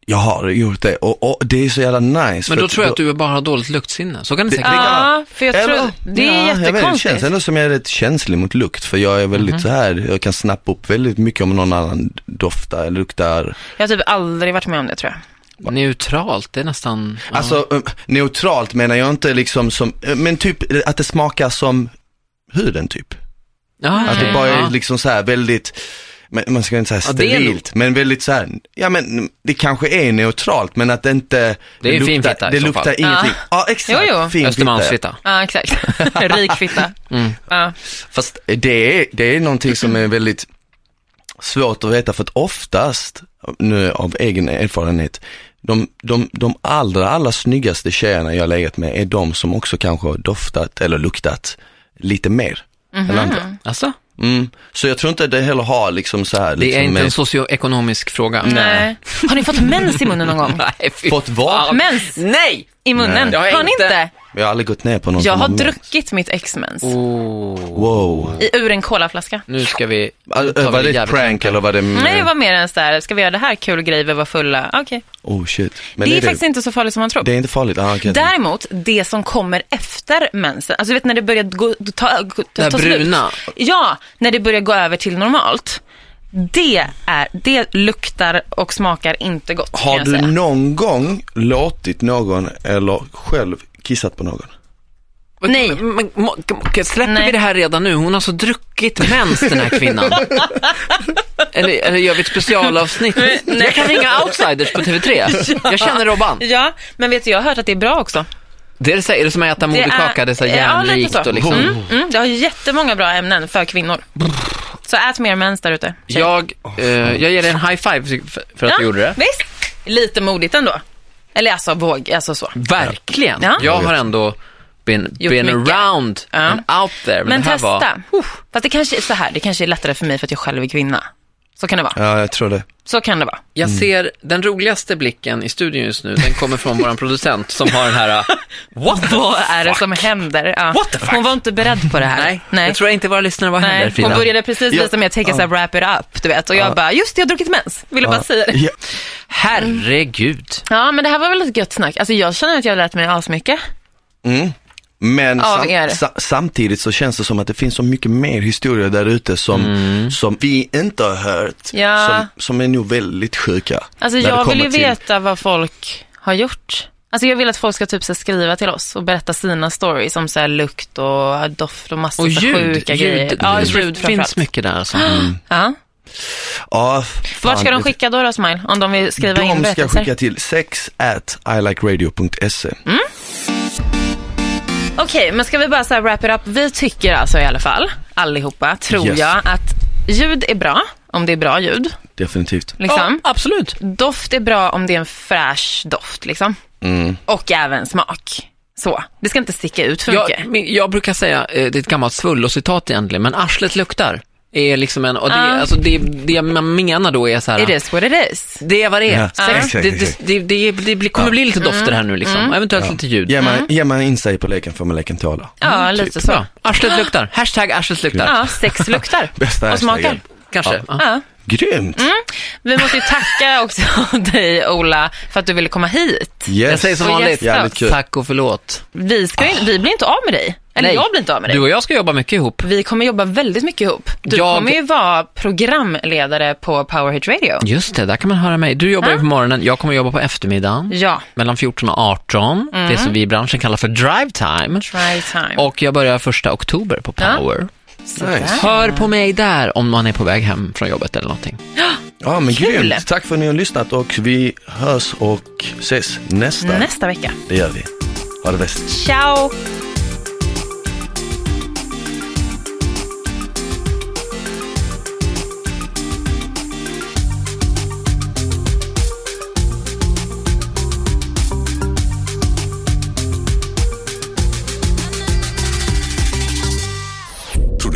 Speaker 3: Jag har gjort det och, och det är så jävla nice.
Speaker 1: Men
Speaker 3: för
Speaker 1: då tror jag att du bara har dåligt luktsinne, så kan det säkert
Speaker 3: Det
Speaker 1: vara.
Speaker 3: kan
Speaker 2: Ja,
Speaker 3: vara.
Speaker 2: för jag
Speaker 3: Eller-
Speaker 2: tror, det är
Speaker 3: ja, jag vet, Det
Speaker 2: jättekonstigt. Mhm.
Speaker 3: känns ändå som jag är rätt känslig mot lukt för jag är väldigt så här, jag kan snappa upp väldigt mycket om någon annan doftar eller luktar.
Speaker 2: Jag har typ aldrig varit med om det tror jag.
Speaker 1: Neutralt, det är nästan... ja.
Speaker 3: Alltså eh, neutralt menar jag inte liksom som, eh, men typ eh, att det smakar som huden typ.
Speaker 1: ja,
Speaker 3: Att det
Speaker 1: okej,
Speaker 3: bara är
Speaker 1: Mm. ja.
Speaker 3: liksom så här väldigt, men- man ska inte säga
Speaker 1: Ja, det är
Speaker 3: sterilt, men väldigt så här, ja men det kanske är neutralt men att det inte
Speaker 1: Det är en fin
Speaker 3: luktar,
Speaker 1: fitta i
Speaker 3: det
Speaker 1: så
Speaker 3: luktar
Speaker 1: fall.
Speaker 3: ingenting.
Speaker 2: Ja.
Speaker 3: Ja, exakt,
Speaker 2: Jo, jo.
Speaker 3: fin fitta.
Speaker 1: Östermalmsfitta.
Speaker 2: Ja, exakt. Rik fitta.
Speaker 3: Mm.
Speaker 2: Ja.
Speaker 3: Fast det är, det är någonting som är väldigt svårt att veta för att oftast, nu av egen erfarenhet, de, de, de allra, allra snyggaste tjejerna jag har legat med är de som också kanske har doftat eller luktat lite mer
Speaker 2: Mhm.
Speaker 3: än andra.
Speaker 1: Alltså,
Speaker 3: Mm. Så jag tror inte det heller har liksom så här,
Speaker 1: det är
Speaker 3: liksom,
Speaker 1: inte
Speaker 3: eh,
Speaker 1: en socioekonomisk fråga.
Speaker 2: Nej. Har ni fått mens i munnen någon gång?
Speaker 1: Nej, fy
Speaker 3: fått vad?
Speaker 1: fan.
Speaker 2: Mens
Speaker 1: Nej!
Speaker 2: i munnen?
Speaker 1: Nej.
Speaker 2: Har ni inte?
Speaker 3: Jag har aldrig gått ner på någon
Speaker 2: Jag
Speaker 3: som
Speaker 2: har
Speaker 3: mens.
Speaker 2: druckit mitt ex-mens
Speaker 1: Oh.
Speaker 3: Wow.
Speaker 2: i, ur en colaflaska.
Speaker 1: Nu ska vi...
Speaker 3: All,
Speaker 1: nu tar vi
Speaker 3: var det
Speaker 1: jävligt
Speaker 3: ett
Speaker 1: långt.
Speaker 3: prank eller var det?
Speaker 2: Nej, det var mer en så här, ska vi göra det här kul grej, vi var fulla. Okej.
Speaker 3: Oh shit. Men
Speaker 2: Det är faktiskt inte så farligt som man tror.
Speaker 3: det är inte farligt? Ah, okay.
Speaker 2: Däremot, det som kommer efter mensen, alltså du vet när det börjar gå, ta, gå, ta,
Speaker 1: Det här
Speaker 2: ta
Speaker 1: bruna.
Speaker 2: Slut. Ja, när det börjar gå över till normalt. Det, är, det luktar och smakar inte gott. kan
Speaker 3: Har
Speaker 2: jag
Speaker 3: du
Speaker 2: säga.
Speaker 3: någon gång låtit någon eller själv kissat på någon?
Speaker 2: Nej.
Speaker 1: Men, men, må- k- släpper
Speaker 2: Nej.
Speaker 1: vi det här redan nu? Hon har så druckit mens den här kvinnan. eller, eller gör vi ett specialavsnitt? Jag kan ringa outsiders på TV3. Jag känner Robban.
Speaker 2: Ja, men vet du, jag har hört att det är bra också.
Speaker 1: Det är, så här, är det som att äta moderkaka, det är så här
Speaker 2: ja, lite
Speaker 1: järnrikt
Speaker 2: så.
Speaker 1: och liksom.
Speaker 2: Mm, mm, det har jättemånga bra ämnen för kvinnor. Så ät mer mens där ute. tjejer.
Speaker 1: Jag, eh, jag ger dig en high five för- för att du gjorde det.
Speaker 2: Visst, lite modigt ändå. Eller alltså våg, alltså så.
Speaker 1: Verkligen.
Speaker 2: Ja.
Speaker 1: Jag har ändå been,
Speaker 2: Gjort
Speaker 1: been
Speaker 2: mycket.
Speaker 1: around
Speaker 2: Ja.
Speaker 1: and out there. Men,
Speaker 2: Men
Speaker 1: det här
Speaker 2: testa.
Speaker 1: var...
Speaker 2: Fast det kanske är så här, det kanske är lättare för mig för att jag själv är kvinna. Så kan det vara.
Speaker 3: Ja, jag tror det.
Speaker 2: Så kan det vara.
Speaker 1: Jag ser den roligaste blicken i studion just nu, den kommer från vår producent som har den här, uh, what the
Speaker 2: Vad är det
Speaker 1: fuck?
Speaker 2: som händer? Ja.
Speaker 1: What the fuck?
Speaker 2: Hon var inte beredd på det här.
Speaker 1: Nej, jag tror inte våra lyssnare var heller,
Speaker 2: Nej, hon
Speaker 1: Frida.
Speaker 2: började precis
Speaker 3: Ja.
Speaker 2: lite med att tänka såhär, wrap it up, du vet. Och jag bara, just det, jag har druckit mens. Ville bara säga det.
Speaker 3: Ja.
Speaker 1: Herregud.
Speaker 2: Ja, men det här var väl ett gött snack. Alltså jag känner att jag har lärt mig asmycket.
Speaker 3: Men
Speaker 2: Av
Speaker 3: sam-
Speaker 2: er.
Speaker 3: sa- samtidigt så känns det som att det finns så mycket mer historier där ute som, som vi inte har hört.
Speaker 2: Mm. Ja.
Speaker 3: Som, som är nog väldigt sjuka.
Speaker 2: Alltså
Speaker 3: när det
Speaker 2: jag vill
Speaker 3: kommer
Speaker 2: ju
Speaker 3: till-
Speaker 2: veta vad folk har gjort. Alltså jag vill att folk ska typ så här, skriva till oss och berätta sina stories om så här, lukt och doft och massa
Speaker 1: Och
Speaker 2: så här,
Speaker 1: ljud,
Speaker 2: sjuka grejer.
Speaker 1: ljud,
Speaker 2: Ja,
Speaker 1: det
Speaker 2: ljud
Speaker 1: finns
Speaker 2: framförallt.
Speaker 1: mycket där. Alltså.
Speaker 2: Ja.
Speaker 3: Ja, fan,
Speaker 2: Vart ska de
Speaker 3: det-
Speaker 2: skicka då, då Smile? Om de vill skriva in
Speaker 3: De ska
Speaker 2: berättelser.
Speaker 3: skicka till sex at ilikeradio.se.
Speaker 2: Okej, men ska vi bara så här wrap it up. Vi tycker alltså i alla fall, allihopa, tror
Speaker 3: Yes.
Speaker 2: jag, att ljud är bra om det är bra ljud.
Speaker 3: Definitivt.
Speaker 2: Liksom.
Speaker 1: Ja, absolut.
Speaker 2: Doft är bra om det är en fräsch doft. Liksom.
Speaker 3: Mm.
Speaker 2: Och även smak. Så. Det ska inte sticka ut för mycket.
Speaker 1: Jag, men jag brukar säga, eh, det är ett gammalt svullocitat egentligen, men arslet luktar. Är liksom en, och det,
Speaker 2: Ah.
Speaker 1: alltså det, det man menar då är så här,
Speaker 2: It is what it is.
Speaker 1: det är vad det är.
Speaker 3: Ja,
Speaker 1: Så här,
Speaker 3: exakt,
Speaker 1: det,
Speaker 3: exakt.
Speaker 1: det, det, det, det blir, kommer bli lite dofter här nu liksom, eventuellt lite ljud.
Speaker 3: Ger man, ger man in sig på leken får man leken tåla.
Speaker 2: Ja,
Speaker 1: Typ.
Speaker 2: lite så.
Speaker 1: Bra. Arslet luktar. Hashtag arslet luktar.
Speaker 2: Ja, sex luktar.
Speaker 3: Bästa
Speaker 2: och smakar.
Speaker 3: hashtaggen.
Speaker 1: Kanske. Ja.
Speaker 2: Ja.
Speaker 3: Grymt!
Speaker 1: Mm.
Speaker 2: Vi måste ju tacka också dig, Ola, för att du ville komma hit.
Speaker 3: Yes.
Speaker 1: Jag säger som
Speaker 2: Och
Speaker 1: vanligt,
Speaker 2: gästar.
Speaker 3: Jävligt kul.
Speaker 1: tack och förlåt.
Speaker 2: Vi, ska ju, vi blir inte av med dig. Eller
Speaker 1: Nej.
Speaker 2: jag blir inte av med dig.
Speaker 1: Du och jag ska jobba mycket ihop.
Speaker 2: Vi kommer jobba väldigt mycket ihop. Du
Speaker 1: Jag-
Speaker 2: kommer ju vara programledare på Powerhit Radio.
Speaker 1: Just det, där kan man höra mig. Du jobbar ju på morgonen, jag kommer jobba på eftermiddagen.
Speaker 2: Ja, Mm.
Speaker 1: Mellan 14 och 18, det som vi i branschen kallar för drive time.
Speaker 2: try time.
Speaker 1: Och jag börjar första oktober på
Speaker 2: Ja.
Speaker 1: Power.
Speaker 3: Nice.
Speaker 1: Hör på mig där om man är på väg hem från jobbet eller någonting.
Speaker 3: Ja men
Speaker 2: Kul.
Speaker 3: grymt. Tack för att ni har lyssnat och vi hörs och ses nästa.
Speaker 2: Nästa vecka.
Speaker 3: Det gör vi. Ha det bäst.
Speaker 2: Ciao!